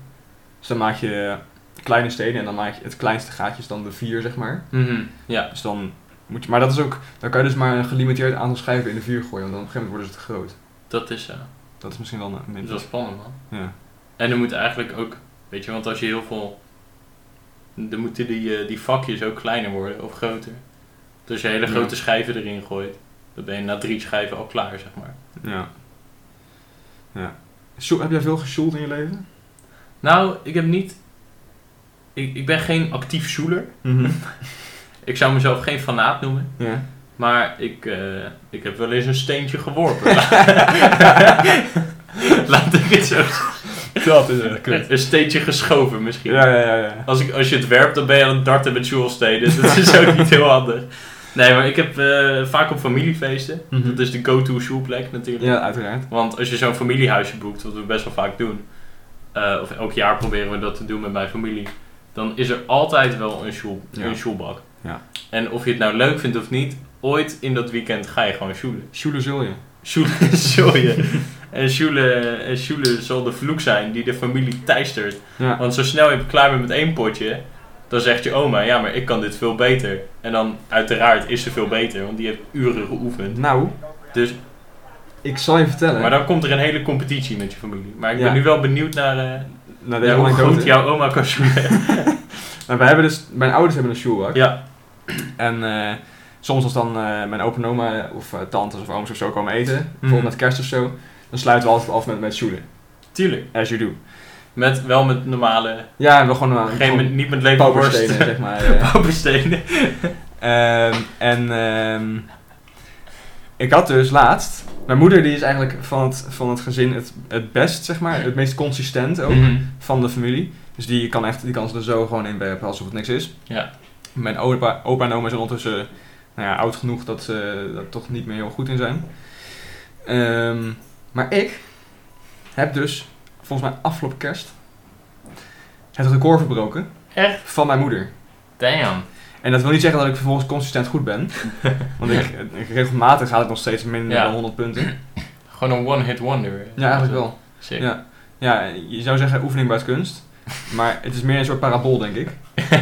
[SPEAKER 2] Dus dan maak je kleine stenen en dan maak je het kleinste gaatje is dan de vier, zeg maar.
[SPEAKER 1] Mhm, Ja.
[SPEAKER 2] Dus dan moet je, maar dat is ook, dan kan je dus maar een gelimiteerd aantal schijven in de vier gooien, want dan op een gegeven moment worden ze te groot.
[SPEAKER 1] dat is zo.
[SPEAKER 2] Dat is misschien wel een
[SPEAKER 1] Dus Dat is
[SPEAKER 2] minder.
[SPEAKER 1] wel spannend, man.
[SPEAKER 2] Ja.
[SPEAKER 1] En er moet eigenlijk ook, weet je, want als je heel veel... Dan moeten die, eh, die vakjes ook kleiner worden of groter. Dus als je hele
[SPEAKER 2] Ja.
[SPEAKER 1] grote schijven erin gooit, dan ben je na drie schijven al klaar, zeg maar.
[SPEAKER 2] Ja. ja. Sjo- heb jij veel gesjoeld in je leven?
[SPEAKER 1] Nou, ik heb niet... Ik, ik ben geen actief shoeler. Ik zou mezelf geen fanaat noemen.
[SPEAKER 2] Ja.
[SPEAKER 1] Maar ik, eh, ik heb wel eens een steentje geworpen. Laat ik het zo zeggen.
[SPEAKER 2] Dat is echt kut.
[SPEAKER 1] Een steentje geschoven misschien.
[SPEAKER 2] Ja, ja, ja. ja.
[SPEAKER 1] Als, ik, als je het werpt, dan ben je aan het darten met Jules Dus dat is ook niet heel handig. Nee, maar ik heb eh, vaak op familiefeesten.
[SPEAKER 2] Mhm.
[SPEAKER 1] Dat is de go-to shoelplek natuurlijk.
[SPEAKER 2] Ja, uiteraard.
[SPEAKER 1] Want als je zo'n familiehuisje boekt, wat we best wel vaak doen, eh, of elk jaar proberen we dat te doen met mijn familie, dan is er altijd wel een, shoel,
[SPEAKER 2] Ja.
[SPEAKER 1] een shoelbak.
[SPEAKER 2] Ja.
[SPEAKER 1] En of je het nou leuk vindt of niet, ooit in dat weekend ga je gewoon shoelen.
[SPEAKER 2] Sjoelen zul je.
[SPEAKER 1] Shoelen, zul je. En shoelen, en shoelen zal de vloek zijn die de familie teistert.
[SPEAKER 2] Ja.
[SPEAKER 1] Want zo snel je klaar bent met één potje, dan zegt je oma, ja maar ik kan dit veel beter. En dan uiteraard is ze veel beter, want die heeft uren geoefend.
[SPEAKER 2] Nou,
[SPEAKER 1] Dus
[SPEAKER 2] ik zal je vertellen.
[SPEAKER 1] maar dan komt er een hele competitie met je familie. Maar ik ben
[SPEAKER 2] Ja.
[SPEAKER 1] nu wel benieuwd naar, eh,
[SPEAKER 2] nou,
[SPEAKER 1] naar
[SPEAKER 2] deze
[SPEAKER 1] hoe
[SPEAKER 2] anekdote.
[SPEAKER 1] goed jouw oma kan shoelen.
[SPEAKER 2] Nou, wij hebben dus, mijn ouders hebben een sjoelbak.
[SPEAKER 1] ja.
[SPEAKER 2] En eh, soms als dan eh, mijn opa en oma of eh, tantes of ooms of zo komen eten, bijvoorbeeld
[SPEAKER 1] Mhm.
[SPEAKER 2] met kerst of zo, dan sluiten we altijd af met, met sjoelen.
[SPEAKER 1] Tuurlijk.
[SPEAKER 2] As you do.
[SPEAKER 1] Met, wel met normale,
[SPEAKER 2] Ja, we gewoon een
[SPEAKER 1] geen, met- niet met leverworst.
[SPEAKER 2] pauperstenen, zeg maar. eh.
[SPEAKER 1] Pauperstenen.
[SPEAKER 2] Ehm, en ehm, ik had dus laatst, mijn moeder die is eigenlijk van het, van het gezin het, het best, zeg maar, het meest consistent ook.
[SPEAKER 1] Mhm.
[SPEAKER 2] van de familie. Dus die kan, echt, die kan ze er zo gewoon inwerpen alsof het niks is.
[SPEAKER 1] Ja.
[SPEAKER 2] Mijn opa, opa en oma zijn ondertussen nou ja, oud genoeg dat ze daar toch niet meer heel goed in zijn. Ehm, maar ik heb dus volgens mij afgelopen kerst het record verbroken
[SPEAKER 3] Echt?
[SPEAKER 2] van mijn moeder.
[SPEAKER 3] Damn.
[SPEAKER 2] En dat wil niet zeggen dat ik vervolgens consistent goed ben. want ik, ik- regelmatig gaat het nog steeds minder
[SPEAKER 3] Ja.
[SPEAKER 2] dan 100 punten.
[SPEAKER 3] Gewoon een one-hit wonder.
[SPEAKER 2] Ja, eigenlijk wel.
[SPEAKER 3] Sick.
[SPEAKER 2] Ja. Ja, je zou zeggen oefening buiten kunst. Maar het is meer een soort parabool, denk ik.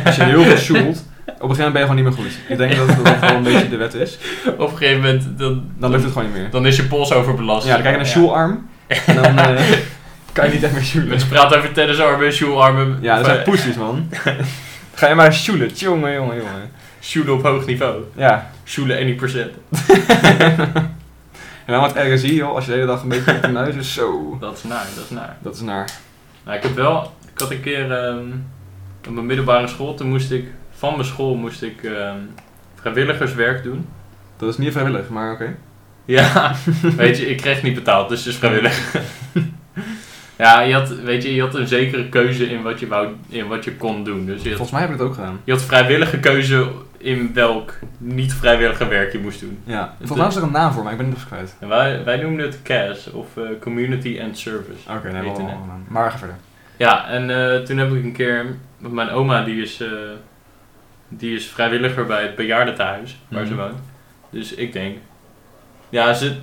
[SPEAKER 2] Als je heel veel sjoelt, op een gegeven moment ben je gewoon niet meer goed. Ik denk dat dat wel een beetje de wet is.
[SPEAKER 3] Op een gegeven moment, dan,
[SPEAKER 2] Dan lukt het gewoon niet meer.
[SPEAKER 3] dan is je pols overbelast.
[SPEAKER 2] Ja, dan krijg je een sjoelarm. En dan eh, kan je niet echt meer sjoelen.
[SPEAKER 3] Mensen praten over tennisarmen, shoearmen.
[SPEAKER 2] Ja, dat
[SPEAKER 3] of,
[SPEAKER 2] zijn
[SPEAKER 3] eh,
[SPEAKER 2] poesjes, man. Ga je maar sjoelen. Tjonge, jonge, jonge.
[SPEAKER 1] Shoelen op hoog niveau.
[SPEAKER 2] Ja.
[SPEAKER 1] Shoelen 1%.
[SPEAKER 2] En dan wat RSI, joh. Als je de hele dag een beetje op de neus is, zo.
[SPEAKER 1] Dat is naar, dat is naar.
[SPEAKER 2] Dat is naar.
[SPEAKER 1] Nou, ik heb wel, ik had een keer ehm, op mijn middelbare school, toen moest ik, van mijn school moest ik ehm, vrijwilligerswerk doen.
[SPEAKER 2] Dat is niet vrijwillig, maar oké.
[SPEAKER 1] Ja, weet je, ik kreeg niet betaald, dus het is vrijwillig. ja, je had, weet je, je had een zekere keuze in wat je, wou, in wat je kon doen. Dus je had,
[SPEAKER 2] Volgens mij hebben we dat ook gedaan.
[SPEAKER 1] je had vrijwillige keuze in welk niet-vrijwillige werk je moest doen.
[SPEAKER 2] Ja. Volgens mij was er een naam voor, maar ik ben het even kwijt.
[SPEAKER 1] En wij, wij noemden het CAS, of eh, Community and Service.
[SPEAKER 2] Oké, nee, we hebben
[SPEAKER 1] Heette
[SPEAKER 2] allemaal
[SPEAKER 1] het.
[SPEAKER 2] gedaan. Maar ga verder.
[SPEAKER 1] Ja, en eh, toen heb ik een keer, want mijn oma die is, eh, die is vrijwilliger bij het bejaardentehuis, waar ze
[SPEAKER 2] Mhm.
[SPEAKER 1] woont. Dus ik denk, ja, ze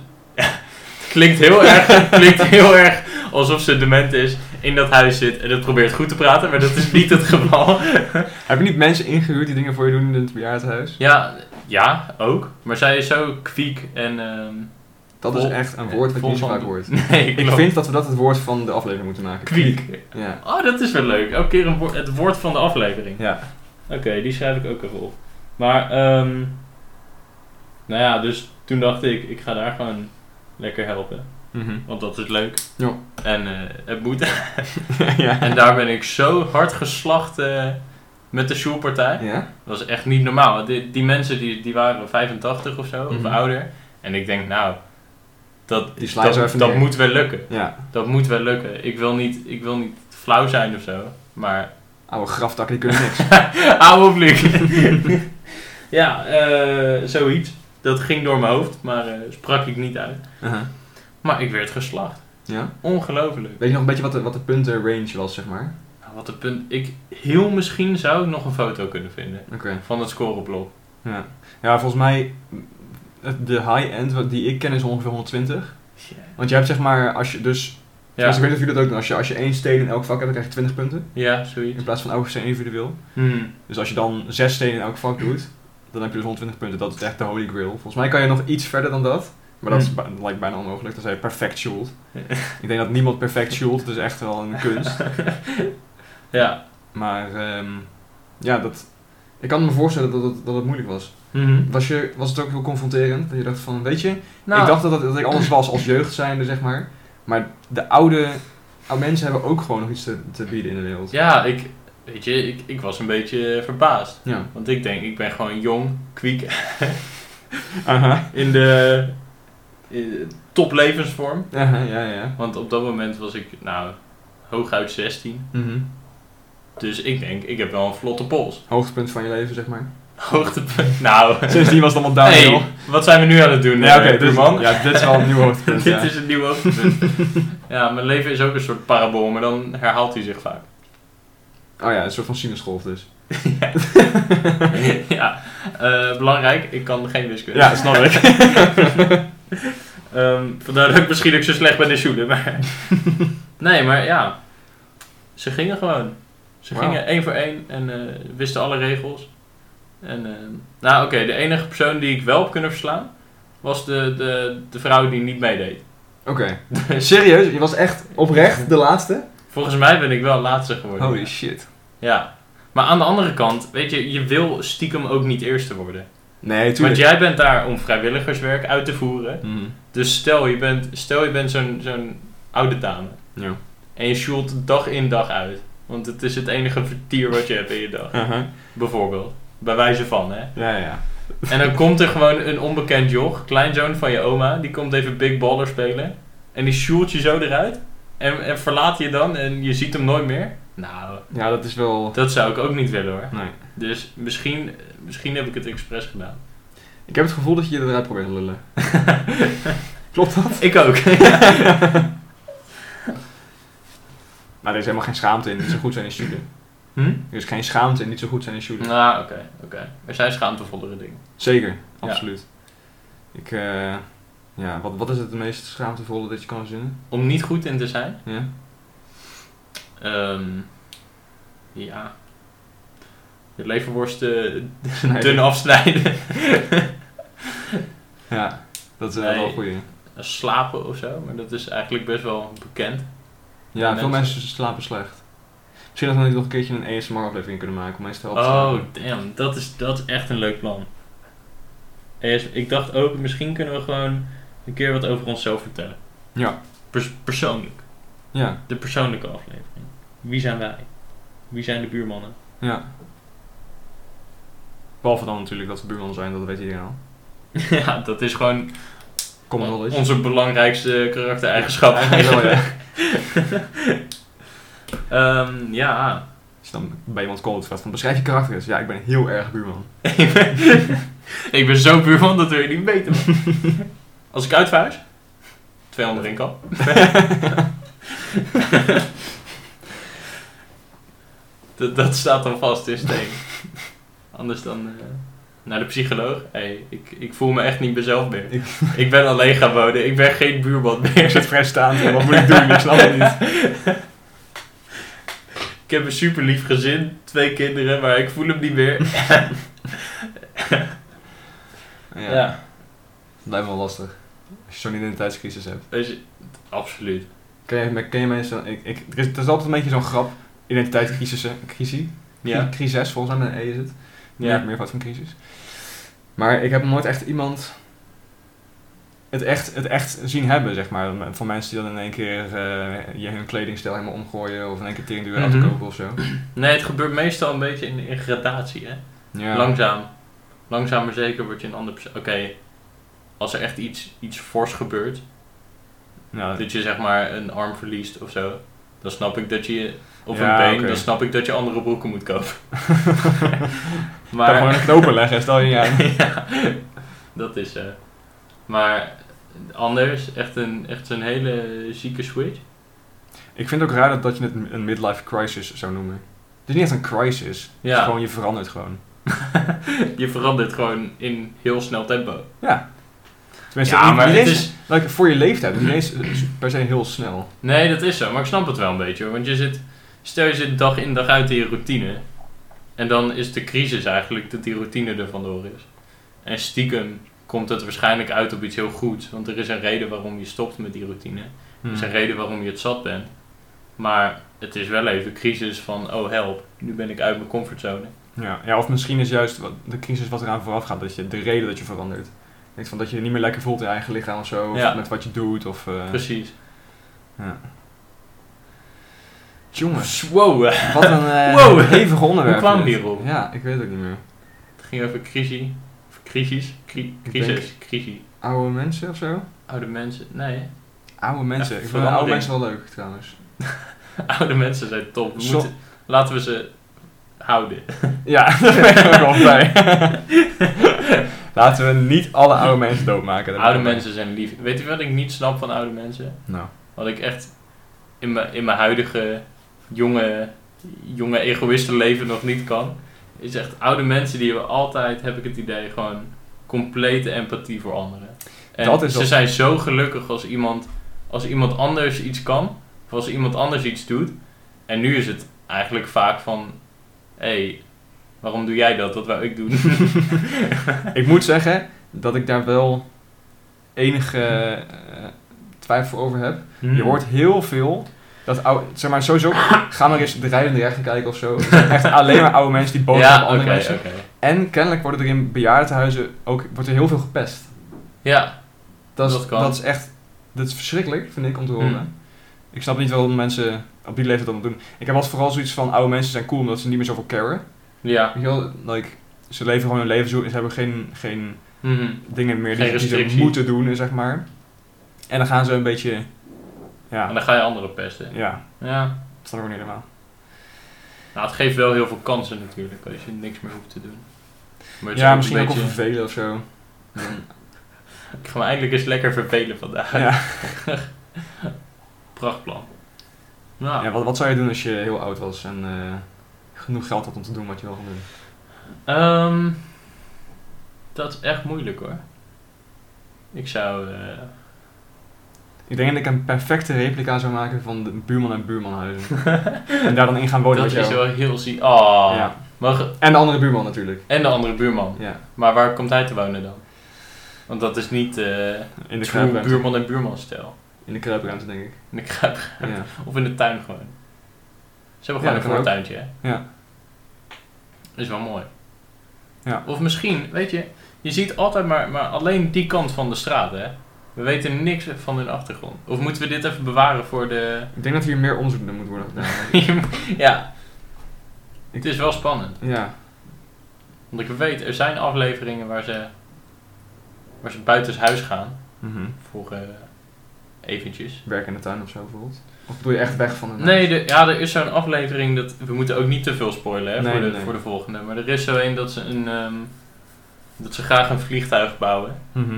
[SPEAKER 1] klinkt heel erg, klinkt heel erg alsof ze dement is, in dat huis zit en het probeert goed te praten, maar dat is niet het geval.
[SPEAKER 2] Heb je niet mensen ingehuurd die dingen voor je doen in het bejaardenhuis?
[SPEAKER 1] ja, ja, ook, maar zij is zo kwiek en... ehm,
[SPEAKER 2] Dat is
[SPEAKER 1] Vol- eh,
[SPEAKER 2] echt een woord dat
[SPEAKER 1] vol
[SPEAKER 2] niet zo
[SPEAKER 1] van-
[SPEAKER 2] vaak hoort.
[SPEAKER 1] Nee,
[SPEAKER 2] Ik
[SPEAKER 1] klopt.
[SPEAKER 2] vind dat we dat het woord van de aflevering moeten maken.
[SPEAKER 1] kwiek.
[SPEAKER 2] Ja.
[SPEAKER 1] Oh, dat is wel leuk. Elke keer een woord- het woord van de aflevering.
[SPEAKER 2] Ja.
[SPEAKER 1] Oké, die schrijf ik ook even op. Maar, ehm nou ja, dus toen dacht ik, ik ga daar gewoon lekker helpen.
[SPEAKER 2] Mhm.
[SPEAKER 1] Want dat is leuk.
[SPEAKER 2] Ja.
[SPEAKER 1] En eh, het moet.
[SPEAKER 2] ja.
[SPEAKER 1] en daar ben ik zo hard geslacht eh, met de shoelpartij.
[SPEAKER 2] Ja?
[SPEAKER 1] Dat was echt niet normaal. want Die, die mensen die, die waren 85 of zo,
[SPEAKER 2] Mhm.
[SPEAKER 1] of ouder. En ik denk, nou, dat,
[SPEAKER 2] Die slaan ze
[SPEAKER 1] dat,
[SPEAKER 2] even
[SPEAKER 1] dat
[SPEAKER 2] neer.
[SPEAKER 1] moet wel lukken.
[SPEAKER 2] Ja.
[SPEAKER 1] Dat moet wel lukken. Ik wil niet, ik wil niet flauw zijn of zo. Maar
[SPEAKER 2] Oude graftak, die kunnen niks.
[SPEAKER 1] Oude vlieg. ja, eh, zoiets. Dat ging door mijn hoofd, maar eh, sprak ik niet uit.
[SPEAKER 2] Aha.
[SPEAKER 1] Maar ik werd geslacht.
[SPEAKER 2] Ja?
[SPEAKER 1] Ongelooflijk.
[SPEAKER 2] Weet je nog een beetje wat de, wat de puntenrange was, zeg maar?
[SPEAKER 1] Nou, Wat een punt. Ik, heel misschien zou ik nog een foto kunnen vinden
[SPEAKER 2] Oké.
[SPEAKER 1] van het scoreblok.
[SPEAKER 2] Ja. Ja, volgens mij, het- de high-end wat- die ik ken is ongeveer 120. Want je hebt zeg maar, als je dus... Ja. ik
[SPEAKER 1] Ja,
[SPEAKER 2] weet niet of jullie dat ook doen. Als je, als je één steen in elk vak hebt, dan krijg je 20 punten.
[SPEAKER 1] ja zoiets.
[SPEAKER 2] In plaats van elke steen individueel.
[SPEAKER 1] Hmm.
[SPEAKER 2] Dus als je dan zes stenen in elk vak doet, dan heb je dus 120 punten. Dat is echt de holy grail. Volgens mij kan je nog iets verder dan dat. Maar dat is
[SPEAKER 1] Hmm.
[SPEAKER 2] bij- lijkt bijna onmogelijk. Dan zijn je perfect shoot. Ik denk dat niemand perfect shoot. Het is echt wel een kunst.
[SPEAKER 1] Ja.
[SPEAKER 2] Maar ehm, ja, dat, ik kan me voorstellen dat, dat, dat het moeilijk was.
[SPEAKER 1] Mhm.
[SPEAKER 2] Was, je, was het ook heel confronterend? Dat je dacht van, weet je,
[SPEAKER 1] Nou,
[SPEAKER 2] ik dacht dat, dat, dat ik anders was als jeugd zijnde, zeg maar. Maar de oude, oude mensen hebben ook gewoon nog iets te, te bieden in de wereld.
[SPEAKER 1] ja, ik, weet je, ik, ik was een beetje eh, verbaasd.
[SPEAKER 2] Ja.
[SPEAKER 1] Want ik denk, ik ben gewoon jong, kwiek,
[SPEAKER 2] Aha.
[SPEAKER 1] in de eh, in, toplevensvorm.
[SPEAKER 2] Aha, ja, ja.
[SPEAKER 1] Want op dat moment was ik, nou, hooguit 16.
[SPEAKER 2] Mhm.
[SPEAKER 1] Dus ik denk, ik heb wel een vlotte pols.
[SPEAKER 2] Hoogtepunt van je leven, zeg maar.
[SPEAKER 1] Hoogtepunt. Nou,
[SPEAKER 2] Sindsdien was het allemaal downhill.
[SPEAKER 1] hey, wat zijn we nu aan het doen,
[SPEAKER 2] ja, oké,
[SPEAKER 1] eh,
[SPEAKER 2] dus,
[SPEAKER 1] buurman?
[SPEAKER 2] ja, dit is wel een nieuw hoogtepunt.
[SPEAKER 1] Dit
[SPEAKER 2] ja.
[SPEAKER 1] is een nieuw hoogtepunt. ja, mijn leven is ook een soort parabool, maar dan herhaalt hij zich vaak.
[SPEAKER 2] Oh ja, een soort van sinusgolf dus.
[SPEAKER 1] ja, eh, belangrijk, ik kan geen wiskunde.
[SPEAKER 2] Ja, snap ik.
[SPEAKER 1] Ehm, vandaar dat ik misschien ook zo slecht ben in Sjoelen, maar... nee, maar ja. Ze gingen gewoon. Ze
[SPEAKER 2] Wauw.
[SPEAKER 1] gingen één voor één en eh, wisten alle regels. En, ehm, nou oké, de enige persoon die ik wel heb kunnen verslaan... was de, de, de vrouw die niet meedeed.
[SPEAKER 2] Oké. Serieus? Je was echt oprecht de laatste?
[SPEAKER 1] Volgens mij ben ik wel laatste geworden.
[SPEAKER 2] Holy shit.
[SPEAKER 1] Ja. Maar aan de andere kant, weet je, je wil stiekem ook niet eerste worden.
[SPEAKER 2] Nee,
[SPEAKER 1] Want
[SPEAKER 2] tuurlijk.
[SPEAKER 1] jij bent daar om vrijwilligerswerk uit te voeren.
[SPEAKER 2] Mhm.
[SPEAKER 1] Dus stel je bent, stel je bent zo'n zo'n oude dame.
[SPEAKER 2] Ja.
[SPEAKER 1] En je sjoelt dag in dag uit. Want het is het enige vertier wat je hebt in je dag.
[SPEAKER 2] Uh-huh.
[SPEAKER 1] Bijvoorbeeld. Bij wijze van, hè.
[SPEAKER 2] Ja, ja.
[SPEAKER 1] En dan komt er gewoon een onbekend joch, kleinzoon van je oma. Die komt even big baller spelen. En die sjoelt je zo eruit. En, en verlaat je dan en je ziet hem nooit meer. Nou,
[SPEAKER 2] Ja, dat is wel...
[SPEAKER 1] dat zou ik ook niet willen hoor.
[SPEAKER 2] Nee.
[SPEAKER 1] Dus misschien, misschien heb ik het expres gedaan.
[SPEAKER 2] Ik heb het gevoel dat je je eruit probeert te lullen. Klopt dat?
[SPEAKER 1] Ik ook.
[SPEAKER 2] Maar er is helemaal geen schaamte in, niet zo goed zijn in shooten.
[SPEAKER 1] Hm?
[SPEAKER 2] Er is geen schaamte in, niet zo goed zijn in shooten.
[SPEAKER 1] Nou, oké. oké. Er zijn schaamtevollere dingen.
[SPEAKER 2] Zeker, absoluut. Ik, eh... Ja, wat, wat is het meest schaamtevolle dat je kan verzinnen?
[SPEAKER 1] Om niet goed in te zijn.
[SPEAKER 2] Ja?
[SPEAKER 1] Ehm ja. Je leverworst eh,
[SPEAKER 2] Nee.
[SPEAKER 1] dun afsnijden.
[SPEAKER 2] Ja, dat is eh,
[SPEAKER 1] Nee.
[SPEAKER 2] wel een goeie.
[SPEAKER 1] Slapen of zo, maar dat is eigenlijk best wel bekend.
[SPEAKER 2] Ja,
[SPEAKER 1] Mensen-
[SPEAKER 2] veel mensen slapen slecht. Misschien dat we nog een keertje een ASMR-aflevering kunnen maken om mensen te helpen
[SPEAKER 1] Oh,
[SPEAKER 2] slapen.
[SPEAKER 1] damn. Dat is, dat is echt een leuk plan. Eerst- ik dacht ook, misschien kunnen we gewoon een keer wat over onszelf vertellen.
[SPEAKER 2] Ja.
[SPEAKER 1] Pers- persoonlijk.
[SPEAKER 2] Ja,
[SPEAKER 1] De persoonlijke aflevering. Wie zijn wij? Wie zijn de buurmannen?
[SPEAKER 2] ja. Behalve dan natuurlijk dat we buurman zijn, dat weet iedereen al.
[SPEAKER 1] ja, dat is gewoon
[SPEAKER 2] Kom maar wel eens.
[SPEAKER 1] onze belangrijkste karaktereigenschap.
[SPEAKER 2] Eigenlijk wel, ja.
[SPEAKER 1] Ehm, ja.
[SPEAKER 2] Als je dan bij iemand komt vraagt van beschrijf je karakter eens. Ja, ik ben heel erg buurman.
[SPEAKER 1] ik ben- ik ben zo buurman, dat wil je niet weten. man. Als ik uitvuis, 200 in kan. dat, dat staat dan vast in steen. Anders dan eh, naar de psycholoog. Hey, ik, ik voel me echt niet mezelf meer.
[SPEAKER 2] Ik-
[SPEAKER 1] Ik ben alleen gaan wonen, ik ben geen buurman meer.
[SPEAKER 2] Ik zit vrijstaand, wat moet ik doen? Ik snap het niet.
[SPEAKER 1] Ik heb een super lief gezin, twee kinderen, maar ik voel hem niet meer.
[SPEAKER 2] Ja, Dat lijkt me wel lastig. Als je zo'n identiteitscrisis hebt.
[SPEAKER 1] Weet je, absoluut.
[SPEAKER 2] Ken je, ken je mensen... Ik, ik, er, is, er is altijd een beetje zo'n grap. Identiteitscrisis. Crisis.
[SPEAKER 1] Ja.
[SPEAKER 2] Crisis, volgens mij met een E is het.
[SPEAKER 1] Ja.
[SPEAKER 2] Ja. Meer fout van crisis. Maar ik heb nog nooit echt iemand het echt, het echt zien hebben, zeg maar. Van mensen die dan in één keer eh, je hun kledingstijl helemaal omgooien of in één keer teringduur
[SPEAKER 1] Mhm.
[SPEAKER 2] mm afkopen of zo.
[SPEAKER 1] Nee, het gebeurt meestal een beetje in, in gradatie, hè?
[SPEAKER 2] Ja.
[SPEAKER 1] Langzaam. Langzaam maar zeker word je een ander persoon. Oké, als er echt iets, iets fors gebeurt,
[SPEAKER 2] Ja,
[SPEAKER 1] dat je zeg maar een arm verliest of zo, dan snap ik dat je... Of
[SPEAKER 2] Ja,
[SPEAKER 1] een been,
[SPEAKER 2] oké.
[SPEAKER 1] dan snap ik dat je andere broeken moet kopen.
[SPEAKER 2] maar... gewoon een
[SPEAKER 1] maar...
[SPEAKER 2] knoop leggen, stel je aan.
[SPEAKER 1] ja, dat is... eh maar anders, echt, een, echt zo'n hele zieke switch.
[SPEAKER 2] Ik vind het ook raar dat, dat je het een midlife crisis zou noemen. Het is niet echt een crisis. Het is
[SPEAKER 1] Ja.
[SPEAKER 2] gewoon, je verandert gewoon.
[SPEAKER 1] je verandert gewoon in heel snel tempo.
[SPEAKER 2] Ja. Tenminste,
[SPEAKER 1] ja,
[SPEAKER 2] niet-
[SPEAKER 1] maar
[SPEAKER 2] niet
[SPEAKER 1] het
[SPEAKER 2] eens-
[SPEAKER 1] is...
[SPEAKER 2] like, voor je leeftijd. Niet eens per se heel snel.
[SPEAKER 1] Nee, dat is zo, maar ik snap het wel een beetje. hoor. Want je zit, stel je zit dag in dag uit in je routine. En dan is de crisis eigenlijk dat die routine er vandoor is. En stiekem komt het waarschijnlijk uit op iets heel goeds. Want er is een reden waarom je stopt met die routine. Er is een
[SPEAKER 2] Hmm.
[SPEAKER 1] reden waarom je het zat bent. Maar het is wel even crisis van, oh help, nu ben ik uit mijn comfortzone.
[SPEAKER 2] Ja, ja, of misschien is juist wat, de crisis wat eraan vooraf gaat, dat je, de reden dat je verandert. Ik denk van dat je je niet meer lekker voelt in je eigen lichaam of zo, of
[SPEAKER 1] Ja.
[SPEAKER 2] met wat je doet. Of, eh,
[SPEAKER 1] Precies.
[SPEAKER 2] Jongens,
[SPEAKER 1] Wow, eh,
[SPEAKER 2] wat een eh
[SPEAKER 1] Wow.
[SPEAKER 2] hevig onderwerp.
[SPEAKER 1] Hoe kwamen we
[SPEAKER 2] dit.
[SPEAKER 1] hierop?
[SPEAKER 2] Ja, ik weet het ook niet meer.
[SPEAKER 1] het ging over crisis. Of crisis? Cri-
[SPEAKER 2] Ik
[SPEAKER 1] crisis? Crisis.
[SPEAKER 2] Oude mensen of zo?
[SPEAKER 1] Oude mensen? Nee.
[SPEAKER 2] Oude mensen. ik vind
[SPEAKER 1] verandering.
[SPEAKER 2] oude mensen wel leuk trouwens.
[SPEAKER 1] Oude mensen zijn top. We
[SPEAKER 2] Zo-
[SPEAKER 1] moeten, laten we ze houden.
[SPEAKER 2] Ja, daar ben ik ook wel bij. Laten we niet alle oude mensen doodmaken. daar ben
[SPEAKER 1] Oude
[SPEAKER 2] ik wel bij.
[SPEAKER 1] mensen zijn lief. Weet je wat ik niet snap van oude mensen?
[SPEAKER 2] Nou.
[SPEAKER 1] Wat ik echt in mijn, in mijn huidige jonge, jonge egoïstenleven nog niet kan. Is echt oude mensen die hebben altijd, heb ik het idee, gewoon complete empathie voor anderen. En
[SPEAKER 2] Dat is
[SPEAKER 1] ze
[SPEAKER 2] wel-
[SPEAKER 1] zijn zo gelukkig als iemand, als iemand anders iets kan. Of als iemand anders iets doet. En nu is het eigenlijk vaak van... Hé, hey, waarom doe jij dat? Dat wou ik doen.
[SPEAKER 2] Ik moet zeggen dat ik daar wel enige eh, twijfel over heb.
[SPEAKER 1] Hmm.
[SPEAKER 2] Je hoort heel veel. Dat oude, zeg maar, sowieso, ga maar eens de rijdende rechter kijken of zo. Het zijn Echt alleen maar oude mensen die boos zijn
[SPEAKER 1] ja,
[SPEAKER 2] op
[SPEAKER 1] oké,
[SPEAKER 2] andere
[SPEAKER 1] oké.
[SPEAKER 2] mensen. En kennelijk worden er in bejaardentehuizen ook wordt er heel veel gepest.
[SPEAKER 1] Ja,
[SPEAKER 2] Dat is,
[SPEAKER 1] Dat kan.
[SPEAKER 2] dat is echt dat is verschrikkelijk, vind ik, om te horen.
[SPEAKER 1] Hmm.
[SPEAKER 2] Ik snap niet waarom mensen op die leeftijd dat doen. Ik heb altijd vooral zoiets van, oude mensen zijn cool omdat ze niet meer zoveel caren.
[SPEAKER 1] ja.
[SPEAKER 2] Weet je wel, like, ze leven gewoon hun leven zo en ze hebben geen, geen
[SPEAKER 1] Mhm.
[SPEAKER 2] dingen meer die,
[SPEAKER 1] Geen
[SPEAKER 2] die ze
[SPEAKER 1] restrictie.
[SPEAKER 2] moeten doen, zeg maar. En dan gaan ze een beetje,
[SPEAKER 1] En
[SPEAKER 2] ja,
[SPEAKER 1] dan ga je anderen pesten.
[SPEAKER 2] ja,
[SPEAKER 1] Ja.
[SPEAKER 2] dat snap ik ook niet helemaal.
[SPEAKER 1] Nou, het geeft wel heel veel kansen natuurlijk, als je niks meer hoeft te doen. Maar het is
[SPEAKER 2] Ja, misschien
[SPEAKER 1] een
[SPEAKER 2] ook wel
[SPEAKER 1] beetje-
[SPEAKER 2] vervelen of zo.
[SPEAKER 1] Ik ga me eindelijk eens lekker vervelen vandaag.
[SPEAKER 2] Ja.
[SPEAKER 1] Prachtplan. Nou,
[SPEAKER 2] Ja, wat, wat zou je doen als je heel oud was en eh, genoeg geld had om te doen wat je wil gaan doen?
[SPEAKER 1] ehm, dat is echt moeilijk hoor. Ik zou... eh,
[SPEAKER 2] Ik denk dat ik een perfecte replica zou maken van de buurman en buurmanhuizen. en daar dan in gaan wonen
[SPEAKER 1] dat
[SPEAKER 2] met
[SPEAKER 1] is
[SPEAKER 2] jou.
[SPEAKER 1] wel heel ziek. Oh.
[SPEAKER 2] Ja.
[SPEAKER 1] Mag-
[SPEAKER 2] En de andere buurman natuurlijk.
[SPEAKER 1] En de andere buurman.
[SPEAKER 2] Ja,
[SPEAKER 1] Maar waar komt hij te wonen dan? Want dat is niet eh
[SPEAKER 2] in de
[SPEAKER 1] true
[SPEAKER 2] kruipruimte.
[SPEAKER 1] buurman en buurman stijl.
[SPEAKER 2] In de kruipruimte denk ik.
[SPEAKER 1] En ik ga
[SPEAKER 2] Ja.
[SPEAKER 1] Of in de tuin gewoon. Ze hebben gewoon
[SPEAKER 2] Ja, dat kan
[SPEAKER 1] een
[SPEAKER 2] ook.
[SPEAKER 1] voortuintje, hè?
[SPEAKER 2] Ja.
[SPEAKER 1] Is wel mooi.
[SPEAKER 2] Ja.
[SPEAKER 1] Of misschien, weet je, je ziet altijd maar, maar alleen die kant van de straat, hè? We weten niks van hun achtergrond. Of moeten we dit even bewaren voor de...
[SPEAKER 2] Ik denk dat hier meer onderzoek naar moet worden gedaan.
[SPEAKER 1] ja.
[SPEAKER 2] Ik-
[SPEAKER 1] Het is wel spannend.
[SPEAKER 2] ja,
[SPEAKER 1] Want ik weet, er zijn afleveringen waar ze, waar ze buiten huis gaan.
[SPEAKER 2] Mhm.
[SPEAKER 1] Voor eh, eventjes.
[SPEAKER 2] werk in de tuin of zo bijvoorbeeld. Of doe je echt weg van de
[SPEAKER 1] Nee, de- ja, er is zo'n aflevering dat. We moeten ook niet te veel spoilen hè,
[SPEAKER 2] Nee,
[SPEAKER 1] voor, de,
[SPEAKER 2] nee, nee.
[SPEAKER 1] voor de volgende. Maar er is zo een dat ze een. ehm, dat ze graag een vliegtuig bouwen.
[SPEAKER 2] Mhm.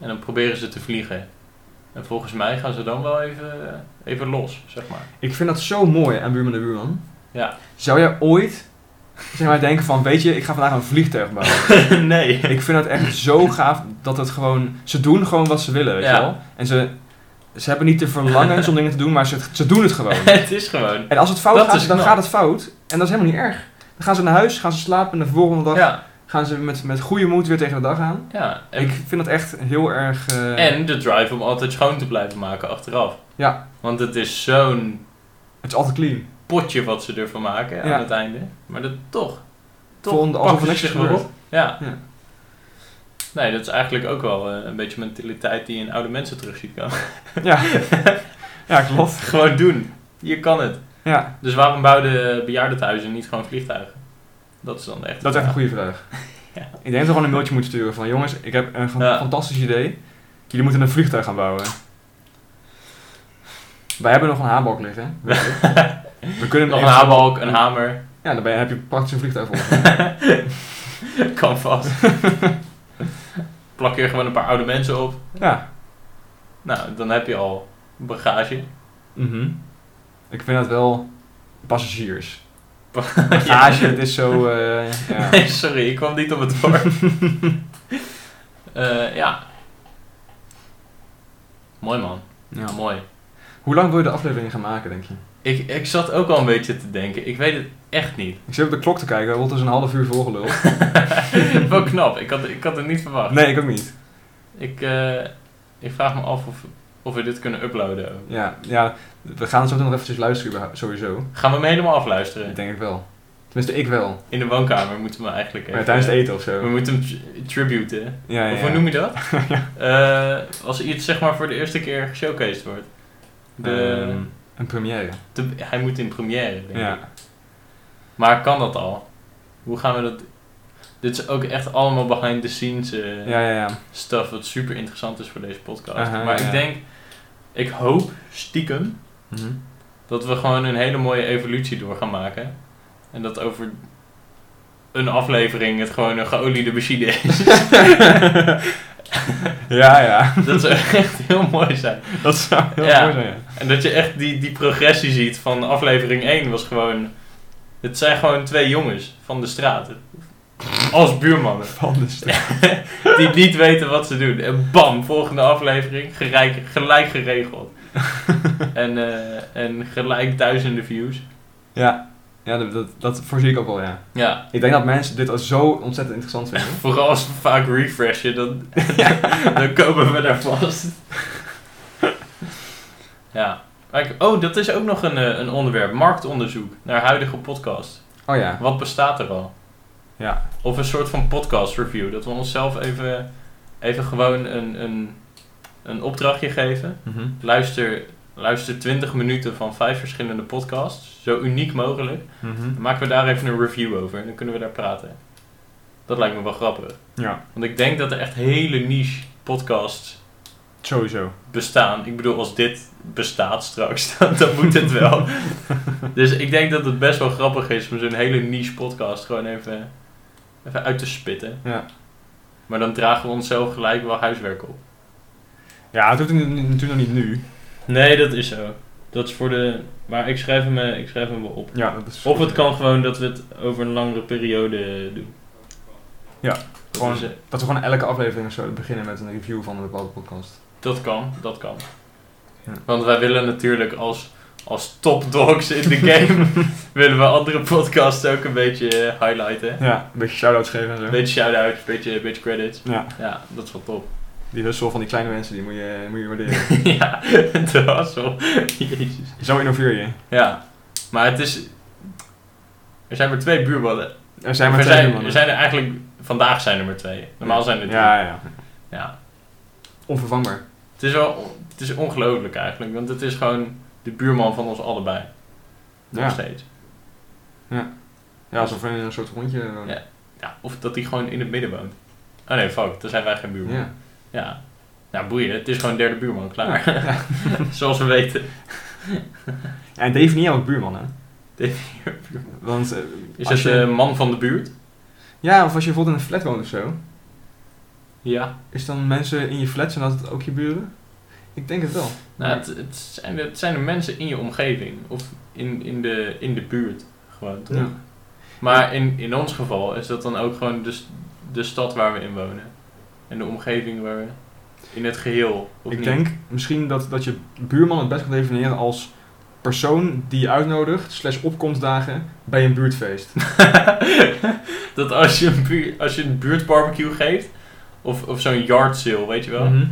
[SPEAKER 1] En dan proberen ze te vliegen. En volgens mij gaan ze dan wel even, eh, even los, zeg maar.
[SPEAKER 2] Ik vind dat zo mooi aan buurman en buurman.
[SPEAKER 1] Ja.
[SPEAKER 2] Zou jij ooit zeg maar, denken van, weet je, ik ga vandaag een vliegtuig bouwen.
[SPEAKER 1] nee.
[SPEAKER 2] ik vind dat echt zo gaaf dat het gewoon... Ze doen gewoon wat ze willen, weet
[SPEAKER 1] Ja.
[SPEAKER 2] je wel. En ze, ze hebben niet de verlangens om dingen te doen, maar ze, ze doen het gewoon.
[SPEAKER 1] het is gewoon.
[SPEAKER 2] En als het fout
[SPEAKER 1] Dat
[SPEAKER 2] gaat,
[SPEAKER 1] is
[SPEAKER 2] dan
[SPEAKER 1] knap.
[SPEAKER 2] gaat het fout. En dat is helemaal niet erg. Dan gaan ze naar huis, gaan ze slapen en de volgende dag
[SPEAKER 1] Ja,
[SPEAKER 2] gaan ze met, met goede moed weer tegen de dag aan.
[SPEAKER 1] ja. En,
[SPEAKER 2] ik vind dat echt heel erg... eh,
[SPEAKER 1] en de drive om altijd schoon te blijven maken achteraf.
[SPEAKER 2] Ja.
[SPEAKER 1] Want het is zo'n
[SPEAKER 2] Het is altijd clean.
[SPEAKER 1] potje wat ze ervan maken
[SPEAKER 2] Ja.
[SPEAKER 1] aan het einde. Maar dat toch. Toch
[SPEAKER 2] Volgende alsof er
[SPEAKER 1] pakken
[SPEAKER 2] niks
[SPEAKER 1] ze
[SPEAKER 2] is
[SPEAKER 1] zich maar
[SPEAKER 2] gebeurd.
[SPEAKER 1] op. Ja.
[SPEAKER 2] Ja.
[SPEAKER 1] Nee, dat is eigenlijk ook wel eh, een beetje mentaliteit die je in oude mensen terug ziet komen.
[SPEAKER 2] Ja. ja, klopt.
[SPEAKER 1] gewoon doen. Je kan het.
[SPEAKER 2] Ja,
[SPEAKER 1] Dus waarom bouwden bejaardentehuizen niet gewoon vliegtuigen? Dat is dan echt...
[SPEAKER 2] dat is echt een goede vraag.
[SPEAKER 1] Ja.
[SPEAKER 2] Ik denk dat we gewoon een mailtje moeten sturen van... Jongens, ik heb een fan-
[SPEAKER 1] Ja.
[SPEAKER 2] fantastisch idee. Jullie moeten een vliegtuig gaan bouwen. Wij hebben nog een haanbalk liggen. weet je. We kunnen
[SPEAKER 1] Nog een
[SPEAKER 2] even-
[SPEAKER 1] haarbalk, een hamer.
[SPEAKER 2] Ja, dan ben je- heb je praktisch een vliegtuig voor.
[SPEAKER 1] kan vast. Plak hier gewoon een paar oude mensen op.
[SPEAKER 2] Ja.
[SPEAKER 1] Nou, dan heb je al bagage.
[SPEAKER 2] Mhm. Ik vind dat wel... Passagiers.
[SPEAKER 1] Ja.
[SPEAKER 2] Bagage, het is zo... eh, ja.
[SPEAKER 1] Nee, sorry, ik kwam niet op het woord. Eh, ja. Mooi man.
[SPEAKER 2] Ja.
[SPEAKER 1] Ja, mooi.
[SPEAKER 2] Hoe lang wil je de aflevering gaan maken, denk je?
[SPEAKER 1] Ik, ik zat ook al een beetje te denken. Ik weet het echt niet.
[SPEAKER 2] Ik zit op de klok te kijken, want het is een half uur volgeluld.
[SPEAKER 1] Wel knap. Ik had, ik had het niet verwacht.
[SPEAKER 2] Oh. Nee, ik ook niet.
[SPEAKER 1] Ik, eh, ik vraag me af of, of we dit kunnen uploaden. ook.
[SPEAKER 2] Ja, ja we gaan het zo meteen nog eventjes luisteren, überhaupt- sowieso.
[SPEAKER 1] Gaan we hem helemaal afluisteren?
[SPEAKER 2] Dat denk ik wel. Tenminste, ik wel.
[SPEAKER 1] In de woonkamer moeten we hem eigenlijk
[SPEAKER 2] Maar
[SPEAKER 1] even... eh,
[SPEAKER 2] tijdens het eten of
[SPEAKER 1] We
[SPEAKER 2] zo.
[SPEAKER 1] moeten hem tri- tributen.
[SPEAKER 2] Ja, ja,
[SPEAKER 1] Of hoe
[SPEAKER 2] ja.
[SPEAKER 1] noem je dat? Eh, als iets zeg maar voor de eerste keer geshowcased wordt. De,
[SPEAKER 2] Ehm, een première.
[SPEAKER 1] de- hij moet in première, denk ik.
[SPEAKER 2] Ja.
[SPEAKER 1] Maar kan dat al? Hoe gaan we dat... Dit is ook echt allemaal behind the scenes eh,
[SPEAKER 2] Ja, ja, ja.
[SPEAKER 1] stuff wat super interessant is voor deze podcast.
[SPEAKER 2] Aha,
[SPEAKER 1] maar
[SPEAKER 2] ja.
[SPEAKER 1] ik denk, ik hoop stiekem
[SPEAKER 2] Mhm.
[SPEAKER 1] dat we gewoon een hele mooie evolutie door gaan maken. En dat over een aflevering het gewoon een geoliede machine is.
[SPEAKER 2] ja, ja.
[SPEAKER 1] dat zou echt heel mooi zijn.
[SPEAKER 2] Dat zou heel
[SPEAKER 1] Ja.
[SPEAKER 2] mooi zijn, ja.
[SPEAKER 1] En dat je echt die, die progressie ziet van aflevering 1 was gewoon... Het zijn gewoon twee jongens van de straat. Als buurmannen.
[SPEAKER 2] Van de straat.
[SPEAKER 1] Die niet weten wat ze doen. En bam, volgende aflevering. Gelijk, gelijk geregeld. en, eh, en gelijk duizenden views.
[SPEAKER 2] Ja, ja dat, dat, dat voorzie ik ook wel, ja.
[SPEAKER 1] Ja,
[SPEAKER 2] Ik denk dat mensen dit al zo ontzettend interessant vinden.
[SPEAKER 1] vooral als we vaak refreshen, dan, dan komen we daar vast. ja. Kijk, Oh, dat is ook nog een, eh, een onderwerp. Marktonderzoek naar huidige podcast.
[SPEAKER 2] Oh ja.
[SPEAKER 1] Wat bestaat er al?
[SPEAKER 2] Ja.
[SPEAKER 1] Of een soort van podcast review. Dat we onszelf even, even gewoon een, een, een opdrachtje geven. Luister, luister 20 minuten van vijf verschillende podcasts. Zo uniek mogelijk.
[SPEAKER 2] Mhm.
[SPEAKER 1] Dan maken we daar even een review over. En dan kunnen we daar praten. Dat lijkt me wel grappig.
[SPEAKER 2] Ja,
[SPEAKER 1] Want ik denk dat er echt hele niche podcasts
[SPEAKER 2] sowieso.
[SPEAKER 1] bestaan. Ik bedoel, als dit bestaat straks, dan, dan moet het wel. dus ik denk dat het best wel grappig is om zo'n hele niche podcast gewoon even, even uit te spitten.
[SPEAKER 2] Ja.
[SPEAKER 1] Maar dan dragen we onszelf gelijk wel huiswerk op.
[SPEAKER 2] Ja, het hoeft nu- natuurlijk nog niet nu.
[SPEAKER 1] Nee, dat is zo. Dat is voor de... Maar ik schrijf hem, eh, ik schrijf hem wel op.
[SPEAKER 2] Ja, dat is
[SPEAKER 1] Of het kan gewoon dat we het over een langere periode doen.
[SPEAKER 2] Ja,
[SPEAKER 1] Dat
[SPEAKER 2] gewoon-
[SPEAKER 1] is, eh,
[SPEAKER 2] Dat we gewoon elke aflevering of zo beginnen met een review van een bepaalde podcast.
[SPEAKER 1] Dat kan, dat kan.
[SPEAKER 2] Ja.
[SPEAKER 1] Want wij willen natuurlijk als, als top dogs in de game... willen we andere podcasts ook een beetje eh, highlighten.
[SPEAKER 2] Ja, een beetje shout-outs geven en zo.
[SPEAKER 1] Een beetje shout-outs, een beetje, een beetje credits.
[SPEAKER 2] Ja,
[SPEAKER 1] Ja, dat is wel top.
[SPEAKER 2] die hustle van die kleine mensen, die moet je, moet je waarderen.
[SPEAKER 1] ja, de hassel. Jezus.
[SPEAKER 2] zo innoveer je.
[SPEAKER 1] Ja, maar het is... Er zijn maar twee buurballen.
[SPEAKER 2] Er zijn maar
[SPEAKER 1] er,
[SPEAKER 2] twee
[SPEAKER 1] zijn,
[SPEAKER 2] mannen.
[SPEAKER 1] er zijn er eigenlijk... Vandaag zijn er maar twee. Normaal zijn er drie.
[SPEAKER 2] Ja, ja.
[SPEAKER 1] ja.
[SPEAKER 2] Onvervangbaar.
[SPEAKER 1] Het is wel het is ongelooflijk eigenlijk, want het is gewoon de buurman van ons allebei. Nog
[SPEAKER 2] Ja.
[SPEAKER 1] steeds.
[SPEAKER 2] Ja, alsof we in een soort rondje wonen.
[SPEAKER 1] Ja. Ja, of dat hij gewoon in het midden woont. Oh nee, fuck, dan zijn wij geen buurman. Ja.
[SPEAKER 2] Ja.
[SPEAKER 1] Nou, boeien, het is gewoon derde buurman, klaar. Zoals we weten.
[SPEAKER 2] Ja, En definieer ook buurman, hè.
[SPEAKER 1] Definieer
[SPEAKER 2] Want, eh,
[SPEAKER 1] Is
[SPEAKER 2] als
[SPEAKER 1] het
[SPEAKER 2] je-
[SPEAKER 1] de man van de buurt?
[SPEAKER 2] Ja, of als je bijvoorbeeld in een flat woont of zo.
[SPEAKER 1] Ja.
[SPEAKER 2] Is dan mensen in je flat, zijn dat ook je buren? Ik denk het wel.
[SPEAKER 1] Nou, het, het, zijn, de- het zijn de mensen in je omgeving of in, in, de, in de buurt gewoon. Toch?
[SPEAKER 2] Ja.
[SPEAKER 1] Maar in, in ons geval is dat dan ook gewoon de, st- de stad waar we in wonen. En de omgeving waar we in het geheel. Of
[SPEAKER 2] ik
[SPEAKER 1] niet?
[SPEAKER 2] denk misschien dat, dat je buurman het best kan definiëren als persoon die je uitnodigt, slash opkomstdagen, bij een buurtfeest.
[SPEAKER 1] dat als je een, buur- als je een buurtbarbecue geeft, of, of zo'n yard sale, weet je wel.
[SPEAKER 2] Mhm.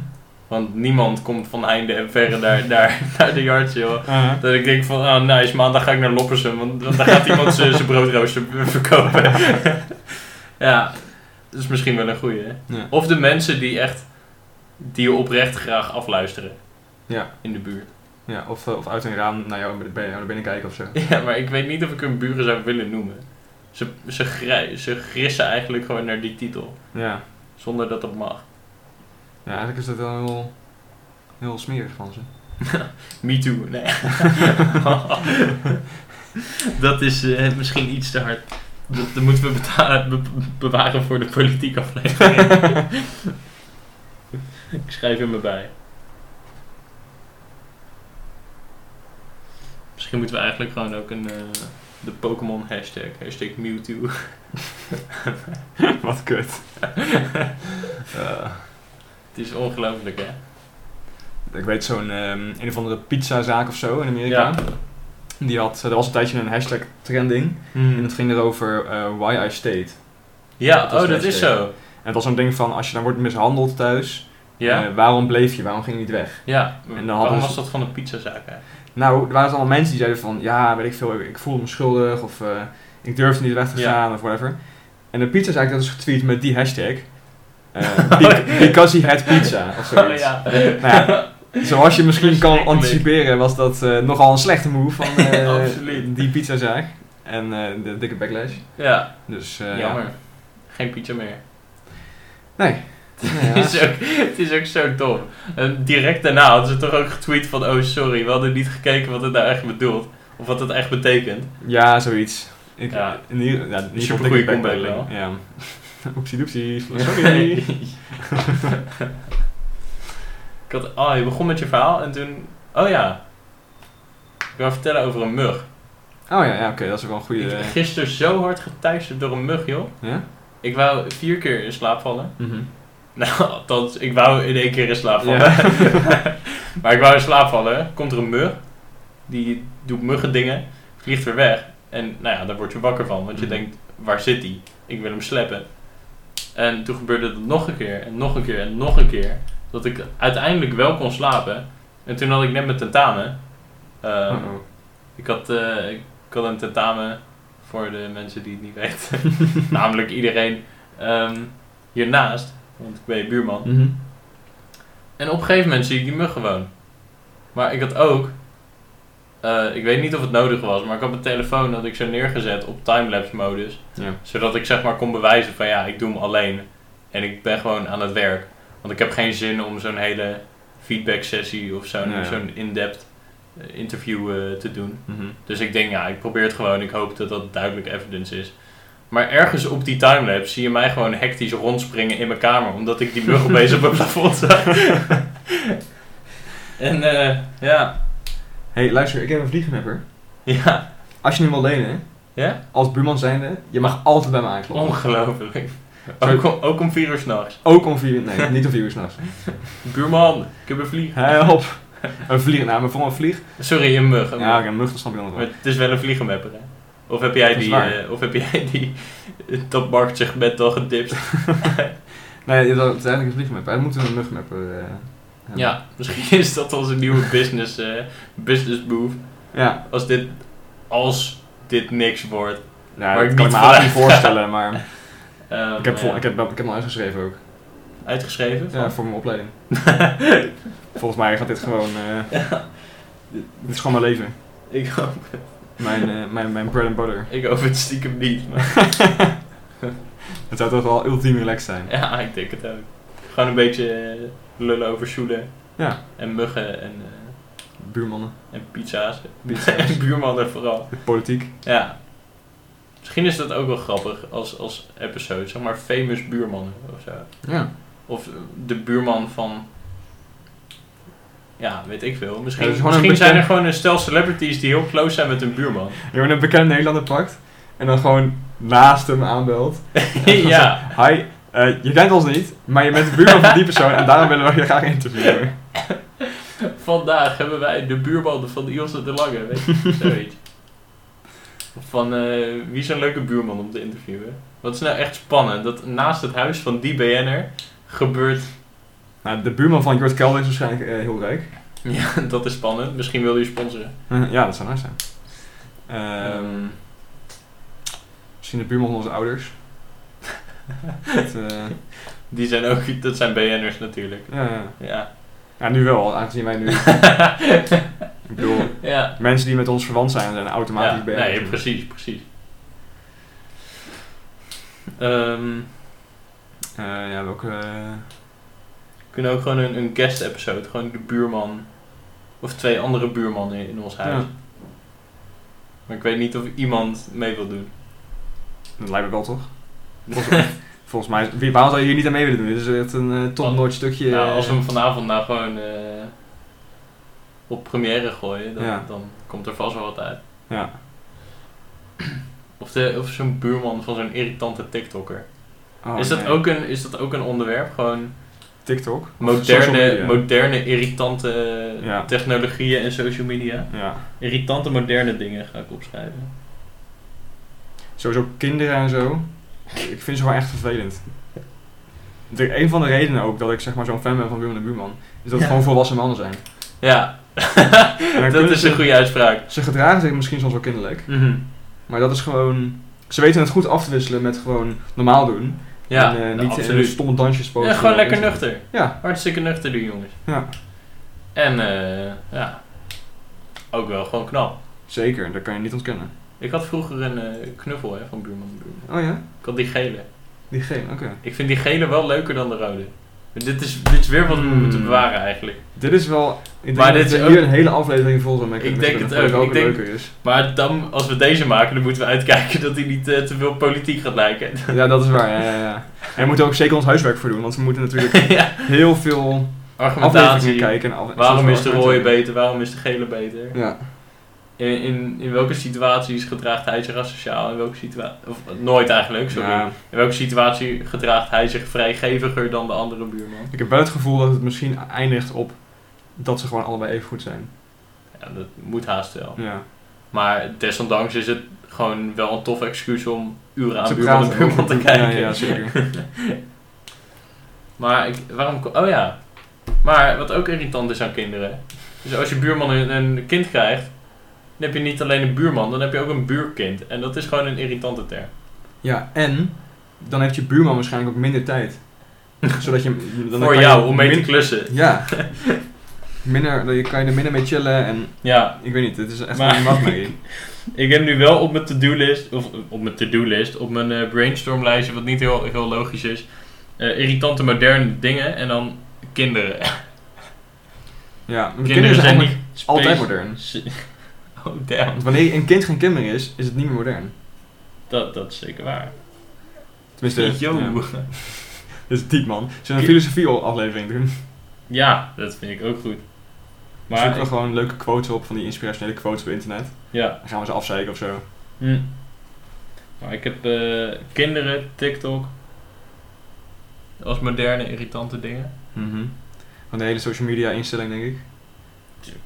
[SPEAKER 1] Want niemand komt van heinde en verre naar, naar, naar de yard sale.
[SPEAKER 2] Uh-huh.
[SPEAKER 1] Dat ik denk van, oh nice, maandag ga ik naar Loppersum, want, want daar gaat iemand zijn broodrooster b- verkopen. ja, dat is misschien wel een goeie. hè?
[SPEAKER 2] Ja.
[SPEAKER 1] Of de mensen die echt, die je oprecht graag afluisteren.
[SPEAKER 2] Ja.
[SPEAKER 1] In de buurt.
[SPEAKER 2] Ja, of, eh, of uit een raam naar jou bij jou naar binnen kijken of zo.
[SPEAKER 1] Ja, maar ik weet niet of ik hun buren zou willen noemen. Ze, ze, grij- ze grissen eigenlijk gewoon naar die titel,
[SPEAKER 2] Ja.
[SPEAKER 1] zonder dat dat mag.
[SPEAKER 2] ja, eigenlijk is dat wel heel, heel smerig van ze.
[SPEAKER 1] Me too. Nee. dat is eh, misschien iets te hard. Dat, dat moeten we beta- be- bewaren voor de politiek aflevering. Ik schrijf hem erbij. Misschien moeten we eigenlijk gewoon ook een, eh, de Pokémon hashtag, hashtag Mewtwo.
[SPEAKER 2] Wat kut. Eh,
[SPEAKER 1] Het is ongelooflijk hè.
[SPEAKER 2] ik weet zo'n ehm, een of andere pizzazaak of zo in Amerika.
[SPEAKER 1] Ja.
[SPEAKER 2] Die had, er was een tijdje een hashtag trending. En het ging erover eh, why I stayed.
[SPEAKER 1] Ja,
[SPEAKER 2] Dat was
[SPEAKER 1] oh dat
[SPEAKER 2] de
[SPEAKER 1] is
[SPEAKER 2] hashtag.
[SPEAKER 1] zo.
[SPEAKER 2] En het was zo'n ding van, als je dan wordt mishandeld thuis,
[SPEAKER 1] Ja,
[SPEAKER 2] eh, waarom bleef je, waarom ging je niet weg?
[SPEAKER 1] ja.
[SPEAKER 2] dan hadden
[SPEAKER 1] waarom
[SPEAKER 2] ze-
[SPEAKER 1] was dat van de pizzazaak hè?
[SPEAKER 2] Nou, er waren allemaal mensen die zeiden van, ja, weet ik veel, ik voelde me schuldig, of eh, ik durfde niet weg te
[SPEAKER 1] Ja.
[SPEAKER 2] gaan, of whatever. En de pizza zei ik dat is getweet met die hashtag. Eh, be- because he had pizza, of
[SPEAKER 1] Oh,
[SPEAKER 2] zoiets.
[SPEAKER 1] ja.
[SPEAKER 2] Nou ja, zoals je misschien kan
[SPEAKER 1] Verschrikkelijk.
[SPEAKER 2] anticiperen, was dat eh, nogal een slechte move van eh,
[SPEAKER 1] Absoluut.
[SPEAKER 2] die pizzazaak. En eh, de dikke backlash.
[SPEAKER 1] ja.
[SPEAKER 2] Dus eh,
[SPEAKER 1] Jammer. Geen pizza meer.
[SPEAKER 2] Nee. Ja, ja.
[SPEAKER 1] het, is ook, het is ook zo dom. En direct daarna hadden ze toch ook getweet van... Oh, sorry, we hadden niet gekeken wat het nou echt bedoelt. Of wat het echt betekent.
[SPEAKER 2] Ja, zoiets. Ik,
[SPEAKER 1] Ja.
[SPEAKER 2] in ieder, ja, in ieder geval
[SPEAKER 1] Supergoeie
[SPEAKER 2] dikke
[SPEAKER 1] comeback
[SPEAKER 2] backpedaling.
[SPEAKER 1] wel.
[SPEAKER 2] Ja. Oepsie doepsie. Sorry.
[SPEAKER 1] Ik had, oh, je begon met je verhaal en toen... Oh ja. Ik wil vertellen over een mug.
[SPEAKER 2] Oh ja, ja oké, dat is ook wel een goede...
[SPEAKER 1] Ik,
[SPEAKER 2] eh,
[SPEAKER 1] gisteren zo hard getuisterd door een mug, joh.
[SPEAKER 2] Ja?
[SPEAKER 1] Ik wou vier keer in slaap vallen.
[SPEAKER 2] Mhm.
[SPEAKER 1] Nou, althans, ik wou in één keer in slaap vallen.
[SPEAKER 2] Ja.
[SPEAKER 1] maar ik wou in slaap vallen. Komt er een mug. Die doet muggendingen. Vliegt weer weg. En nou ja, daar word je wakker van. Want je
[SPEAKER 2] Mhm.
[SPEAKER 1] denkt, waar zit die? Ik wil hem sleppen. En toen gebeurde het nog een keer. En nog een keer. En nog een keer. Dat ik uiteindelijk wel kon slapen. En toen had ik net mijn tentamen. Ehm,
[SPEAKER 2] Uh-oh.
[SPEAKER 1] ik had, eh, ik had een tentamen voor de mensen die het niet weten. Namelijk iedereen ehm, hiernaast, want ik ben je buurman.
[SPEAKER 2] Mhm.
[SPEAKER 1] En op een gegeven moment zie ik die mug gewoon. Maar ik had ook, eh, ik weet niet of het nodig was, maar ik had mijn telefoon dat ik zo neergezet op timelapse modus.
[SPEAKER 2] Ja.
[SPEAKER 1] Zodat ik zeg maar kon bewijzen van ja, ik doe hem alleen. En ik ben gewoon aan het werk. Want ik heb geen zin om zo'n hele feedback sessie of zo'n
[SPEAKER 2] Nee, ja.
[SPEAKER 1] zo'n in-depth eh, interview eh, te doen.
[SPEAKER 2] Mhm.
[SPEAKER 1] Dus ik denk, ja, ik probeer het gewoon. Ik hoop dat dat duidelijk evidence is. Maar ergens op die timelapse zie je mij gewoon hectisch rondspringen in mijn kamer. Omdat ik die mug opeens op mijn plafond zag. en eh, ja.
[SPEAKER 2] Hey, luister, ik heb een vliegenmapper.
[SPEAKER 1] Ja,
[SPEAKER 2] Als je nu wil lenen,
[SPEAKER 1] Ja?
[SPEAKER 2] als buurman zijnde, je mag altijd bij me aankloppen.
[SPEAKER 1] ongelooflijk. Ook om, ook om vier uur s'nachts.
[SPEAKER 2] Ook om vier uur, nee, niet om vier uur s'nachts.
[SPEAKER 1] Buurman, ik heb een vlieg.
[SPEAKER 2] Help! Een vlieg, nou, maar voor een vlieg.
[SPEAKER 1] Sorry, een mug. een
[SPEAKER 2] Ja,
[SPEAKER 1] mug.
[SPEAKER 2] oké, een mug, dat snap ik dan nog
[SPEAKER 1] Maar
[SPEAKER 2] wel.
[SPEAKER 1] het is wel een vliegenmapper, hè? Of heb jij
[SPEAKER 2] Dat is
[SPEAKER 1] die,
[SPEAKER 2] waar.
[SPEAKER 1] eh, of heb jij die eh, dat marktsegment al gedipst?
[SPEAKER 2] Nee, dat het is eigenlijk een vliegenmapper. Hij moet een mugmapper eh hebben.
[SPEAKER 1] Ja, misschien is dat onze nieuwe business, eh, business move.
[SPEAKER 2] Ja.
[SPEAKER 1] Als dit, als dit niks wordt.
[SPEAKER 2] Ja,
[SPEAKER 1] Maar
[SPEAKER 2] dat
[SPEAKER 1] ik
[SPEAKER 2] kan ik
[SPEAKER 1] niet
[SPEAKER 2] me haast niet
[SPEAKER 1] vanuit.
[SPEAKER 2] voorstellen, maar ik
[SPEAKER 1] Ehm,
[SPEAKER 2] heb, vol-
[SPEAKER 1] eh,
[SPEAKER 2] ik, heb, ik heb hem al uitgeschreven ook.
[SPEAKER 1] uitgeschreven.
[SPEAKER 2] Ja,
[SPEAKER 1] van-
[SPEAKER 2] voor mijn opleiding. Volgens mij gaat dit gewoon... eh, dit is gewoon mijn leven.
[SPEAKER 1] Ik, hoop,
[SPEAKER 2] Mijn, eh, mijn, mijn bread and butter.
[SPEAKER 1] ik hoop het stiekem niet. Maar,
[SPEAKER 2] Het zou toch wel ultiem relaxed zijn.
[SPEAKER 1] ja, ik denk het ook. Gewoon een beetje eh, lullen over shoelen.
[SPEAKER 2] Ja.
[SPEAKER 1] En muggen en, eh,
[SPEAKER 2] Buurmannen,
[SPEAKER 1] en pizza's.
[SPEAKER 2] pizza's,
[SPEAKER 1] En buurmannen vooral.
[SPEAKER 2] politiek.
[SPEAKER 1] Ja. Misschien is dat ook wel grappig als, als episode. Zeg maar famous buurmannen of zo.
[SPEAKER 2] Ja.
[SPEAKER 1] Of de buurman van. Ja, weet ik veel. Misschien,
[SPEAKER 2] Ja, dat is gewoon een
[SPEAKER 1] misschien zijn er
[SPEAKER 2] bekend-
[SPEAKER 1] gewoon een stel celebrities die heel close zijn met hun buurman.
[SPEAKER 2] Je wordt een bekend Nederlander pakt en dan gewoon naast hem aanbelt.
[SPEAKER 1] ja,
[SPEAKER 2] Hi, eh, je kent ons niet, maar je bent de buurman van die persoon en daarom willen we je graag interviewen.
[SPEAKER 1] vandaag hebben wij de buurman van Ilse de Lange. Weet je, zoiets. Of Van eh, wie is een leuke buurman om te interviewen? Wat is nou echt spannend? Dat naast het huis van die BN'er gebeurt.
[SPEAKER 2] Nou, de buurman van Jort Kelder is waarschijnlijk eh, heel rijk.
[SPEAKER 1] Ja, dat is spannend. Misschien wil je sponsoren.
[SPEAKER 2] Eh, ja, dat zou nice zijn. Ehm, misschien de buurman van onze ouders. Het, eh,
[SPEAKER 1] Die zijn ook, dat zijn BN'ers natuurlijk.
[SPEAKER 2] ja, ja.
[SPEAKER 1] Ja.
[SPEAKER 2] ja, nu wel, aangezien wij nu... ik bedoel,
[SPEAKER 1] ja.
[SPEAKER 2] mensen die met ons verwant zijn, zijn automatisch
[SPEAKER 1] ja,
[SPEAKER 2] BN'ers.
[SPEAKER 1] Nee, precies, precies. Ehm,
[SPEAKER 2] Eh, ja, welke... eh,
[SPEAKER 1] we kunnen ook gewoon een, een guest episode, gewoon de buurman of twee andere buurmannen in, in ons huis.
[SPEAKER 2] Ja.
[SPEAKER 1] Maar ik weet niet of iemand mee wil doen.
[SPEAKER 2] Dat lijkt me wel toch? Volgens, volgens mij, is- wie, waarom zou je hier niet aan mee willen doen? Dit is echt een eh topnotch stukje.
[SPEAKER 1] Nou,
[SPEAKER 2] eh,
[SPEAKER 1] als we hem vanavond nou gewoon eh, op première gooien, dan,
[SPEAKER 2] Ja.
[SPEAKER 1] dan komt er vast wel wat uit.
[SPEAKER 2] Ja.
[SPEAKER 1] Of, de- of zo'n buurman van zo'n irritante TikToker.
[SPEAKER 2] oh,
[SPEAKER 1] is, dat
[SPEAKER 2] nee.
[SPEAKER 1] ook een, is dat ook een onderwerp? Gewoon
[SPEAKER 2] TikTok? Of social
[SPEAKER 1] Moderne,
[SPEAKER 2] media?
[SPEAKER 1] moderne, irritante
[SPEAKER 2] Ja.
[SPEAKER 1] technologieën en social media.
[SPEAKER 2] ja.
[SPEAKER 1] Irritante, moderne dingen ga ik opschrijven.
[SPEAKER 2] Sowieso kinderen en zo. Ik vind ze gewoon echt vervelend. De, een van de redenen ook dat ik zeg maar zo'n fan ben van Buurman de Buurman, is dat het
[SPEAKER 1] Ja.
[SPEAKER 2] gewoon volwassen mannen zijn.
[SPEAKER 1] Ja,
[SPEAKER 2] En dan
[SPEAKER 1] dat
[SPEAKER 2] kunnen
[SPEAKER 1] is
[SPEAKER 2] ze, Mhm.
[SPEAKER 1] een goede uitspraak.
[SPEAKER 2] ze gedragen zich misschien soms wel kinderlijk, maar dat is gewoon... Ze weten het goed af te wisselen met gewoon normaal doen.
[SPEAKER 1] Ja,
[SPEAKER 2] en eh,
[SPEAKER 1] nou,
[SPEAKER 2] niet in
[SPEAKER 1] absoluut.
[SPEAKER 2] stomme dansjes
[SPEAKER 1] Ja,
[SPEAKER 2] posten.
[SPEAKER 1] gewoon
[SPEAKER 2] op
[SPEAKER 1] lekker
[SPEAKER 2] internet.
[SPEAKER 1] nuchter.
[SPEAKER 2] Ja.
[SPEAKER 1] Hartstikke nuchter, die jongens.
[SPEAKER 2] Ja.
[SPEAKER 1] En eh, ja, ook wel gewoon knap.
[SPEAKER 2] Zeker, dat kan je niet ontkennen.
[SPEAKER 1] Ik had vroeger een eh, knuffel hè, van buurman en buurman.
[SPEAKER 2] Oh ja?
[SPEAKER 1] Ik had die gele.
[SPEAKER 2] Die gele, oké.
[SPEAKER 1] Ik vind die gele wel leuker dan de rode. Maar Dit is, dit is weer wat we
[SPEAKER 2] Hmm.
[SPEAKER 1] moeten bewaren eigenlijk.
[SPEAKER 2] Dit is wel Ik
[SPEAKER 1] Maar
[SPEAKER 2] denk dat
[SPEAKER 1] dit
[SPEAKER 2] we
[SPEAKER 1] is
[SPEAKER 2] hier
[SPEAKER 1] ook-
[SPEAKER 2] een hele aflevering vol zijn met
[SPEAKER 1] Ik
[SPEAKER 2] kunnen
[SPEAKER 1] denk
[SPEAKER 2] vullen,
[SPEAKER 1] het
[SPEAKER 2] voordat
[SPEAKER 1] ook.
[SPEAKER 2] welke
[SPEAKER 1] Ik
[SPEAKER 2] leuker is.
[SPEAKER 1] Maar dan, als we deze maken, dan moeten we uitkijken dat hij niet eh, te veel politiek gaat lijken.
[SPEAKER 2] Ja, dat is waar. Ja, ja, ja. En we moeten ook zeker ons huiswerk voor doen, want we moeten natuurlijk
[SPEAKER 1] ja.
[SPEAKER 2] heel veel afleveringen
[SPEAKER 1] Argumentatie.
[SPEAKER 2] kijken. en af-
[SPEAKER 1] Waarom
[SPEAKER 2] soms
[SPEAKER 1] is de
[SPEAKER 2] wel
[SPEAKER 1] rode
[SPEAKER 2] argumenten.
[SPEAKER 1] beter? Waarom is de gele beter?
[SPEAKER 2] Ja,
[SPEAKER 1] In, in, in welke situaties gedraagt hij zich asociaal? In welke situatie... Of eh, nooit eigenlijk, sorry.
[SPEAKER 2] Ja.
[SPEAKER 1] In welke situatie gedraagt hij zich vrijgeviger dan de andere buurman?
[SPEAKER 2] Ik heb wel het gevoel dat het misschien eindigt op dat ze gewoon allebei even goed zijn.
[SPEAKER 1] Ja, dat moet haast wel.
[SPEAKER 2] Ja.
[SPEAKER 1] Maar desondanks is het gewoon wel een tof excuus om uren aan
[SPEAKER 2] Ze
[SPEAKER 1] buurman en
[SPEAKER 2] praten
[SPEAKER 1] buurman te
[SPEAKER 2] over-
[SPEAKER 1] kijken.
[SPEAKER 2] Ja, ja, zeker.
[SPEAKER 1] Maar ik, waarom... ko- Oh ja. Maar wat ook irritant is aan kinderen... Dus als je buurman een, een kind krijgt... Dan heb je niet alleen een buurman, dan heb je ook een buurkind. En dat is gewoon een irritante term.
[SPEAKER 2] Ja, en dan heeft je buurman waarschijnlijk ook minder tijd. Zodat je... Dan kan
[SPEAKER 1] Voor
[SPEAKER 2] je
[SPEAKER 1] jou, om mee te
[SPEAKER 2] min-
[SPEAKER 1] klussen.
[SPEAKER 2] Ja. Minder, dan kan je er minder mee chillen en
[SPEAKER 1] Ja,
[SPEAKER 2] ik weet niet, het is echt
[SPEAKER 1] Maar-
[SPEAKER 2] een nachtmerrie.
[SPEAKER 1] ik heb nu wel op mijn to-do list, of eh, op mijn to-do list, op mijn eh, brainstormlijstje, wat niet heel, heel logisch is, eh, irritante moderne dingen en dan kinderen.
[SPEAKER 2] Ja, maar kinderen zijn niet altijd
[SPEAKER 1] space-
[SPEAKER 2] modern.
[SPEAKER 1] Oh damn,
[SPEAKER 2] Want wanneer een kind geen kind meer is, is het niet meer modern.
[SPEAKER 1] dat, dat is zeker waar.
[SPEAKER 2] Tenminste,
[SPEAKER 1] Yo.
[SPEAKER 2] ja. dat is diep Dus man. Zullen we een filosofie-aflevering doen?
[SPEAKER 1] Ja, dat vind ik ook goed.
[SPEAKER 2] Maar Zoeken
[SPEAKER 1] Maar,
[SPEAKER 2] we gewoon leuke quotes op van die inspirationele quotes op internet.
[SPEAKER 1] ja.
[SPEAKER 2] Dan gaan we ze afzeiken of zo.
[SPEAKER 1] Hm. Maar ik heb eh, kinderen, TikTok, als moderne irritante dingen.
[SPEAKER 2] Mhm. Van de hele social media instelling denk ik.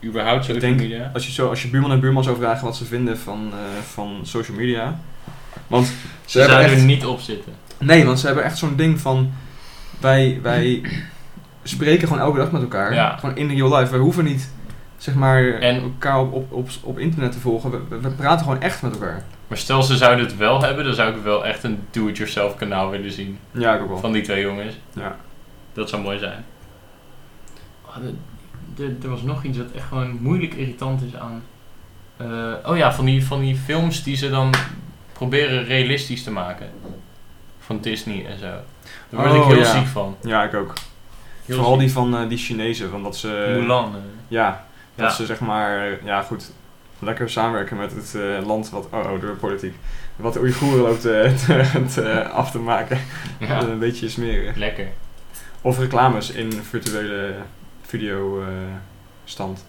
[SPEAKER 1] Überhaupt social
[SPEAKER 2] denk-
[SPEAKER 1] media.
[SPEAKER 2] Als je, zo, als je buurman en buurman zou vragen wat ze vinden van, eh, van social media. Want ze,
[SPEAKER 1] Ze
[SPEAKER 2] hebben
[SPEAKER 1] zouden
[SPEAKER 2] echt-
[SPEAKER 1] er niet op zitten.
[SPEAKER 2] Nee, want ze hebben echt zo'n ding van... Wij, wij spreken gewoon elke dag met elkaar.
[SPEAKER 1] Ja.
[SPEAKER 2] Gewoon in real life. Wij hoeven niet, zeg maar,
[SPEAKER 1] En-
[SPEAKER 2] elkaar op, op, op, op internet te volgen. We, we- we praten gewoon echt met elkaar.
[SPEAKER 1] Maar stel ze zouden het wel hebben, dan zou ik wel echt een do-it-yourself kanaal willen zien.
[SPEAKER 2] Ja, ik ook wel.
[SPEAKER 1] Van die twee jongens.
[SPEAKER 2] Ja.
[SPEAKER 1] Dat zou mooi zijn. Oh, de- de- er was nog iets wat echt gewoon moeilijk irritant is aan. eh, oh ja, van die, van die films die ze dan proberen realistisch te maken. Van Disney en zo. Daar word
[SPEAKER 2] Oh,
[SPEAKER 1] ik heel
[SPEAKER 2] ja.
[SPEAKER 1] ziek van.
[SPEAKER 2] Ja, ik ook.
[SPEAKER 1] Heel
[SPEAKER 2] Vooral
[SPEAKER 1] ziek.
[SPEAKER 2] die van eh, die Chinezen. Van dat ze...
[SPEAKER 1] Mulan. eh.
[SPEAKER 2] Ja, dat
[SPEAKER 1] Ja.
[SPEAKER 2] ze zeg maar, ja goed, lekker samenwerken met het eh, land wat, oh, oh, door de politiek, wat de Oeigoeren loopt eh, te- te- af te maken.
[SPEAKER 1] Ja.
[SPEAKER 2] Een beetje smeren.
[SPEAKER 1] Lekker.
[SPEAKER 2] Of reclames in virtuele video eh, stand.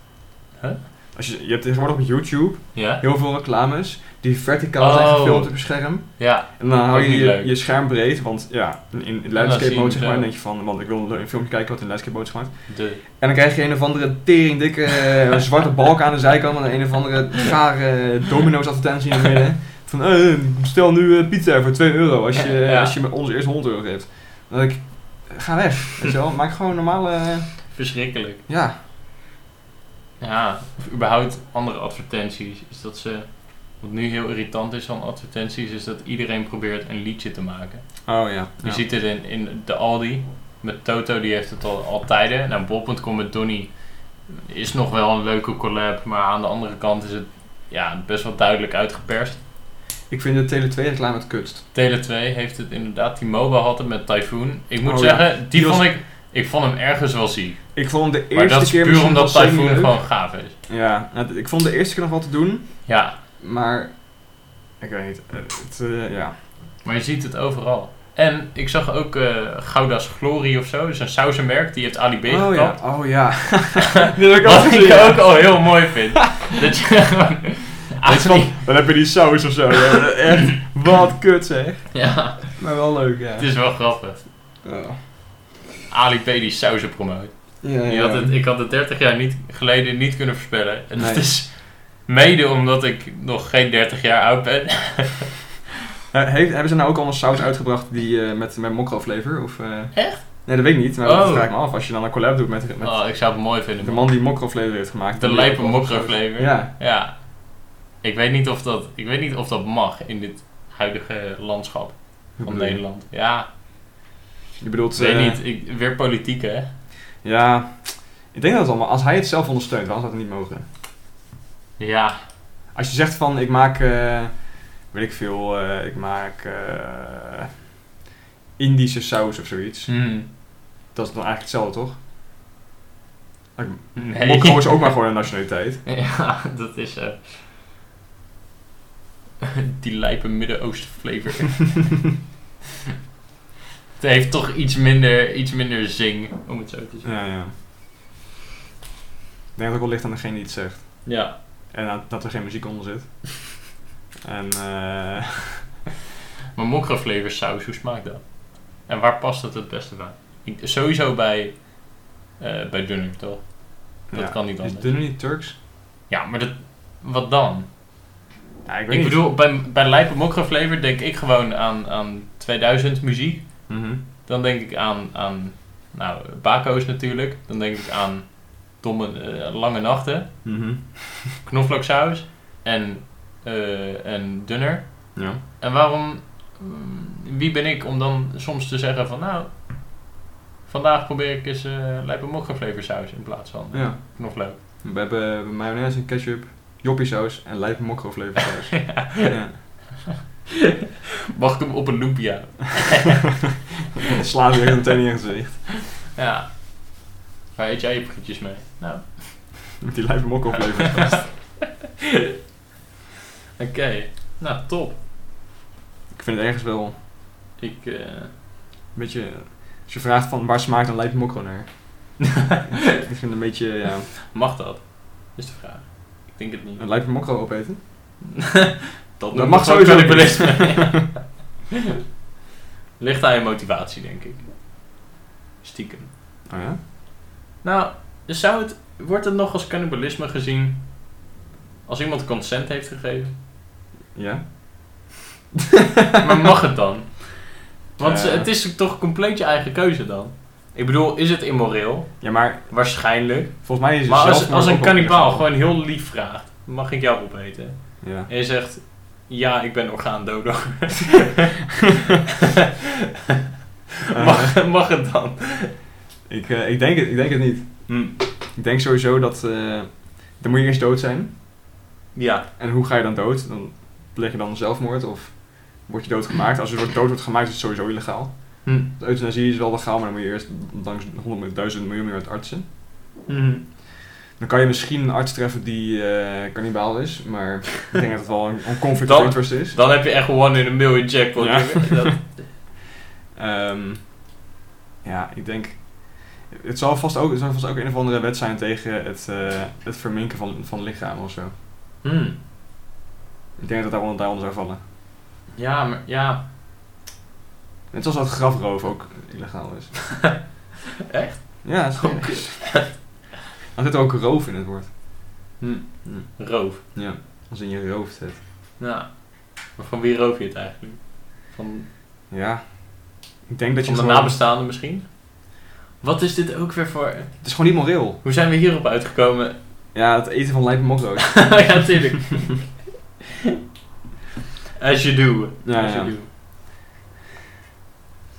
[SPEAKER 1] Huh?
[SPEAKER 2] Als je, je hebt tegenwoordig op YouTube
[SPEAKER 1] Ja?
[SPEAKER 2] heel veel reclames die verticaal zijn
[SPEAKER 1] Oh.
[SPEAKER 2] gefilmd op je scherm.
[SPEAKER 1] Ja.
[SPEAKER 2] En dan hou
[SPEAKER 1] Ook
[SPEAKER 2] je
[SPEAKER 1] niet
[SPEAKER 2] je,
[SPEAKER 1] leuk.
[SPEAKER 2] je scherm breed, want ja, in, in
[SPEAKER 1] zie
[SPEAKER 2] landscape
[SPEAKER 1] je
[SPEAKER 2] mode
[SPEAKER 1] het
[SPEAKER 2] zeg maar,
[SPEAKER 1] wel.
[SPEAKER 2] dan denk je van, want ik wil een filmpje kijken wat in landscape mode is gemaakt.
[SPEAKER 1] De.
[SPEAKER 2] En dan krijg je een of andere teringdikke eh, zwarte balk aan de zijkant en een of andere gare eh, domino's advertentie in het midden. Van, eh, bestel nu eh, pizza voor 2 euro als je,
[SPEAKER 1] Ja.
[SPEAKER 2] als je me- ons eerst 100 euro geeft. Dan denk ik, ga weg, weet je wel. Maak gewoon normale, eh,
[SPEAKER 1] Verschrikkelijk.
[SPEAKER 2] ja.
[SPEAKER 1] Ja, of überhaupt andere advertenties. Is dat ze. Wat nu heel irritant is aan advertenties, is dat iedereen probeert een liedje te maken.
[SPEAKER 2] Oh ja.
[SPEAKER 1] Je ziet het in, in de Aldi. Met Toto, die heeft het al, al tijden. Nou, Bol.com met Donny is nog wel een leuke collab. Maar aan de andere kant is het ja, best wel duidelijk uitgeperst.
[SPEAKER 2] Ik vind de Tele 2 reclame het kutst.
[SPEAKER 1] Tele2 heeft het inderdaad. T-Mobile had het met Typhoon. Ik moet
[SPEAKER 2] Oh, ja.
[SPEAKER 1] zeggen, die,
[SPEAKER 2] Die was-
[SPEAKER 1] vond ik... Ik vond hem ergens wel ziek.
[SPEAKER 2] Ik vond hem de
[SPEAKER 1] Maar
[SPEAKER 2] eerste
[SPEAKER 1] dat is
[SPEAKER 2] keer
[SPEAKER 1] puur
[SPEAKER 2] misschien
[SPEAKER 1] omdat
[SPEAKER 2] wel
[SPEAKER 1] Typhoon
[SPEAKER 2] semi-leuk.
[SPEAKER 1] gewoon gaaf is.
[SPEAKER 2] Ja, nou, ik vond hem de eerste keer nog wat te doen,
[SPEAKER 1] Ja,
[SPEAKER 2] maar ik weet niet. eh, Het, eh, ja.
[SPEAKER 1] Maar je ziet het overal. En ik zag ook eh, Gouda's Glory of zo. Dat is een sausenmerk. Die heeft Ali B
[SPEAKER 2] oh
[SPEAKER 1] gekapt.
[SPEAKER 2] ja, oh ja. Die heb ik ook
[SPEAKER 1] Wat
[SPEAKER 2] gezien,
[SPEAKER 1] ik
[SPEAKER 2] ja.
[SPEAKER 1] ook al heel mooi vind. dat je gewoon...
[SPEAKER 2] Weet je
[SPEAKER 1] Ali-
[SPEAKER 2] wel, Dan heb je die saus of zo. Ja, echt, wat kut zeg.
[SPEAKER 1] Ja,
[SPEAKER 2] Maar wel leuk, ja.
[SPEAKER 1] het is wel grappig.
[SPEAKER 2] Ja.
[SPEAKER 1] Ali B die sausen promoot.
[SPEAKER 2] Ja,
[SPEAKER 1] Die had het, ik had het 30 jaar niet, geleden niet kunnen voorspellen. En dat
[SPEAKER 2] Nee.
[SPEAKER 1] is mede omdat ik nog geen 30 jaar oud ben.
[SPEAKER 2] Eh, heeft, hebben ze nou ook allemaal saus uitgebracht die, eh, met, met mokro flavor? Of, eh?
[SPEAKER 1] Echt?
[SPEAKER 2] Nee, dat weet ik niet. Maar dat
[SPEAKER 1] Oh.
[SPEAKER 2] vraag ik me af. Als je dan een collab doet met, met
[SPEAKER 1] Oh, ik zou het mooi vinden.
[SPEAKER 2] de
[SPEAKER 1] man.
[SPEAKER 2] man die mokro flavor heeft gemaakt.
[SPEAKER 1] De
[SPEAKER 2] dan-
[SPEAKER 1] lijpe mokro flavor.
[SPEAKER 2] Ja.
[SPEAKER 1] Ja. Ik weet, niet of dat, ik weet niet of dat mag in dit huidige landschap van
[SPEAKER 2] Hoe bedoel je?
[SPEAKER 1] Nederland. Ja,
[SPEAKER 2] Je bedoelt...
[SPEAKER 1] ik weet
[SPEAKER 2] eh,
[SPEAKER 1] niet. Ik, weer politiek, hè?
[SPEAKER 2] Ja. Ik denk dat het allemaal... Als hij het zelf ondersteunt, waarom zou het niet mogen?
[SPEAKER 1] Ja.
[SPEAKER 2] Als je zegt van, ik maak... eh, weet ik veel. eh, ik maak... eh, Indische saus of zoiets.
[SPEAKER 1] Hmm.
[SPEAKER 2] Dat is dan eigenlijk hetzelfde, toch? Nee. Mokko is ook maar gewoon een nationaliteit.
[SPEAKER 1] Ja, dat is... eh, die lijpe Midden-Oosten flavor. het heeft toch iets minder, iets minder zing, om het zo te zeggen.
[SPEAKER 2] Ja, ja. Ik denk dat het ook wel ligt aan degene die het zegt.
[SPEAKER 1] Ja.
[SPEAKER 2] En aan- dat er geen muziek onder zit. En eh,
[SPEAKER 1] Maar mokka flavor saus, hoe smaakt dat? En waar past het het beste bij? Ik- sowieso bij, eh bij dunner, toch? Dat
[SPEAKER 2] ja.
[SPEAKER 1] kan niet
[SPEAKER 2] Is
[SPEAKER 1] anders.
[SPEAKER 2] dunner niet Turks?
[SPEAKER 1] Ja, maar dat, wat dan?
[SPEAKER 2] Ja, ik
[SPEAKER 1] Ik bedoel, bij, bij Lijpe Mokra Flavor denk ik gewoon aan, aan 2000 muziek.
[SPEAKER 2] Mhm.
[SPEAKER 1] Dan denk ik aan, aan nou, Bako's natuurlijk. Dan denk ik aan domme, eh, lange nachten,
[SPEAKER 2] Mhm.
[SPEAKER 1] knoflooksaus en, eh, en dunner.
[SPEAKER 2] Ja.
[SPEAKER 1] En waarom, mm, wie ben ik om dan soms te zeggen van nou, vandaag probeer ik eens eh Lijpe Mokra Flavor saus in plaats van eh,
[SPEAKER 2] ja.
[SPEAKER 1] knoflook.
[SPEAKER 2] We hebben mayonaise en ketchup, joppiesaus en lijpe mokro flavorsaus. ja.
[SPEAKER 1] Mag ik hem op een lumpia?
[SPEAKER 2] Slaat weer een meteen in je gezicht.
[SPEAKER 1] Ja. Waar eet jij je frietjes mee? Nou,
[SPEAKER 2] Met die lijpe mokro flavorsaus.
[SPEAKER 1] oké. Nou, top.
[SPEAKER 2] ik vind het ergens wel
[SPEAKER 1] Ik, eh,
[SPEAKER 2] een beetje... Als je vraagt van waar smaakt een lijpe mokro naar? ik vind het een beetje, ja...
[SPEAKER 1] mag dat? Is de vraag. Ik denk het niet.
[SPEAKER 2] Een lijpe mokro opeten?
[SPEAKER 1] Dat,
[SPEAKER 2] mag sowieso
[SPEAKER 1] wel
[SPEAKER 2] niet.
[SPEAKER 1] Ligt aan je motivatie, denk ik. Stiekem.
[SPEAKER 2] Oh ja?
[SPEAKER 1] Nou, zou het, wordt het nog als cannibalisme gezien als iemand consent heeft gegeven?
[SPEAKER 2] Ja?
[SPEAKER 1] maar mag het dan? Want
[SPEAKER 2] Eh.
[SPEAKER 1] het is toch compleet je eigen keuze dan? Ik bedoel, is het immoreel?
[SPEAKER 2] Ja, maar
[SPEAKER 1] Waarschijnlijk.
[SPEAKER 2] volgens mij is het
[SPEAKER 1] Maar als,
[SPEAKER 2] zelfmoord
[SPEAKER 1] als
[SPEAKER 2] ook
[SPEAKER 1] een
[SPEAKER 2] wel
[SPEAKER 1] kannibaal
[SPEAKER 2] ingezet.
[SPEAKER 1] gewoon heel lief vraagt, mag ik jou opeten?
[SPEAKER 2] Ja.
[SPEAKER 1] En je zegt, ja, ik ben orgaandodor. mag, mag het dan?
[SPEAKER 2] Ik, eh, ik, denk het, ik denk het niet.
[SPEAKER 1] Hm.
[SPEAKER 2] Ik denk sowieso dat... eh, dan moet je eerst dood zijn.
[SPEAKER 1] Ja,
[SPEAKER 2] En hoe ga je dan dood? Dan pleeg je dan zelfmoord of word je doodgemaakt? Als je wordt dood wordt gemaakt is het sowieso illegaal.
[SPEAKER 1] Hm.
[SPEAKER 2] De euthanasie is wel legaal, maar dan moet je eerst langs 100.000 miljoen met artsen.
[SPEAKER 1] Mhm.
[SPEAKER 2] Dan kan je misschien een arts treffen die eh kannibaal is, maar ik denk dat het wel een, een conflict
[SPEAKER 1] Dan-
[SPEAKER 2] of interest is.
[SPEAKER 1] dan heb je echt one in a million jackpot.
[SPEAKER 2] Ja.
[SPEAKER 1] Dat,
[SPEAKER 2] Ehm, ja, ik denk... Het zal, vast ook, het zal vast ook een of andere wet zijn tegen het, eh, het verminken van, van lichamen of zo.
[SPEAKER 1] Hm.
[SPEAKER 2] Ik denk dat dat daaronder, daaronder zou vallen.
[SPEAKER 1] Ja, maar ja.
[SPEAKER 2] Net zoals dat grafroof ook illegaal is.
[SPEAKER 1] Echt?
[SPEAKER 2] Ja, dat is
[SPEAKER 1] Oh,
[SPEAKER 2] gek. Dan zit er ook roof in het woord.
[SPEAKER 1] Hm.
[SPEAKER 2] Hm.
[SPEAKER 1] Roof.
[SPEAKER 2] Ja, als in je hoofd zit.
[SPEAKER 1] Ja. Maar van wie roof je het eigenlijk? Van,
[SPEAKER 2] Ja. Ik denk dat je
[SPEAKER 1] van de
[SPEAKER 2] gewoon...
[SPEAKER 1] nabestaanden misschien? Wat is dit ook weer voor...
[SPEAKER 2] Het is gewoon niet moreel.
[SPEAKER 1] Hoe zijn we hierop uitgekomen?
[SPEAKER 2] Ja, het eten van lijpe mokro's.
[SPEAKER 1] ja, tuurlijk. As you do.
[SPEAKER 2] Ja,
[SPEAKER 1] As you
[SPEAKER 2] ja.
[SPEAKER 1] do.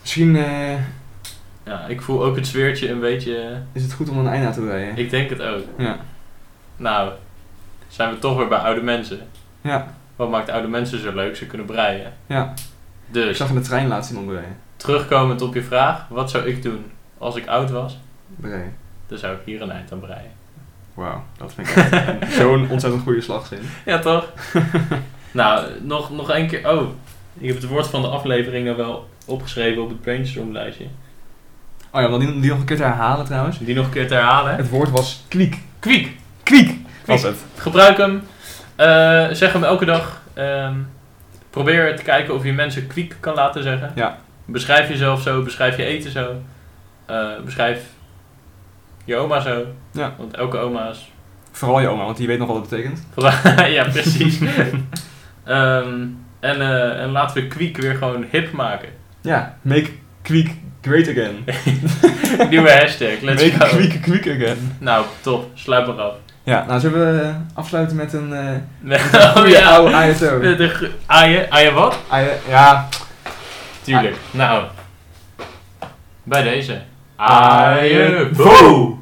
[SPEAKER 2] Misschien eh,
[SPEAKER 1] Ja, ik voel ook het zweertje een beetje. eh,
[SPEAKER 2] is het goed om een einde aan te breien.
[SPEAKER 1] Ik denk het ook.
[SPEAKER 2] Ja.
[SPEAKER 1] Nou, zijn we toch weer bij oude mensen.
[SPEAKER 2] Ja.
[SPEAKER 1] Wat maakt oude mensen zo leuk? Ze kunnen breien.
[SPEAKER 2] Ja. Ik
[SPEAKER 1] Dus,
[SPEAKER 2] zag in de trein laatst iemand breien.
[SPEAKER 1] terugkomend op je vraag, wat zou ik doen als ik oud was?
[SPEAKER 2] Breien.
[SPEAKER 1] Dan zou ik hier een eind aan breien.
[SPEAKER 2] Wauw, dat vind ik echt een- zo'n ontzettend goede slagzin.
[SPEAKER 1] Ja, toch? nou, nog, nog één keer. Oh, ik heb het woord van de aflevering nou wel opgeschreven op het brainstormlijstje.
[SPEAKER 2] Oh ja, om dat die, die nog een keer te herhalen trouwens.
[SPEAKER 1] Die nog een keer te herhalen.
[SPEAKER 2] Het woord was kliek.
[SPEAKER 1] Kwiek!
[SPEAKER 2] Kliek was het.
[SPEAKER 1] Gebruik hem. Eh, zeg hem elke dag. Ehm, probeer te kijken of je mensen kwiek kan laten zeggen.
[SPEAKER 2] Ja.
[SPEAKER 1] Beschrijf jezelf zo, beschrijf je eten zo. Eh, beschrijf je oma zo.
[SPEAKER 2] Ja.
[SPEAKER 1] Want elke oma is.
[SPEAKER 2] Vooral je oma, want die weet nog wat het betekent.
[SPEAKER 1] ja, precies. Ehm, en, eh, en laten we kwiek weer gewoon hip maken.
[SPEAKER 2] Ja, make kwiek great again.
[SPEAKER 1] Nieuwe hashtag, let's
[SPEAKER 2] make
[SPEAKER 1] go.
[SPEAKER 2] kwiek kwiek again.
[SPEAKER 1] Nou, top, sluit maar af.
[SPEAKER 2] Ja, nou zullen we eh, afsluiten met een... eh,
[SPEAKER 1] oh
[SPEAKER 2] Goeie oude
[SPEAKER 1] ja.
[SPEAKER 2] ASO.
[SPEAKER 1] De, de, gro- aaien, aaien wat?
[SPEAKER 2] Ah, Ja.
[SPEAKER 1] Tuurlijk. Nou, bij deze.
[SPEAKER 2] Aaien.
[SPEAKER 1] Aaien. Boe!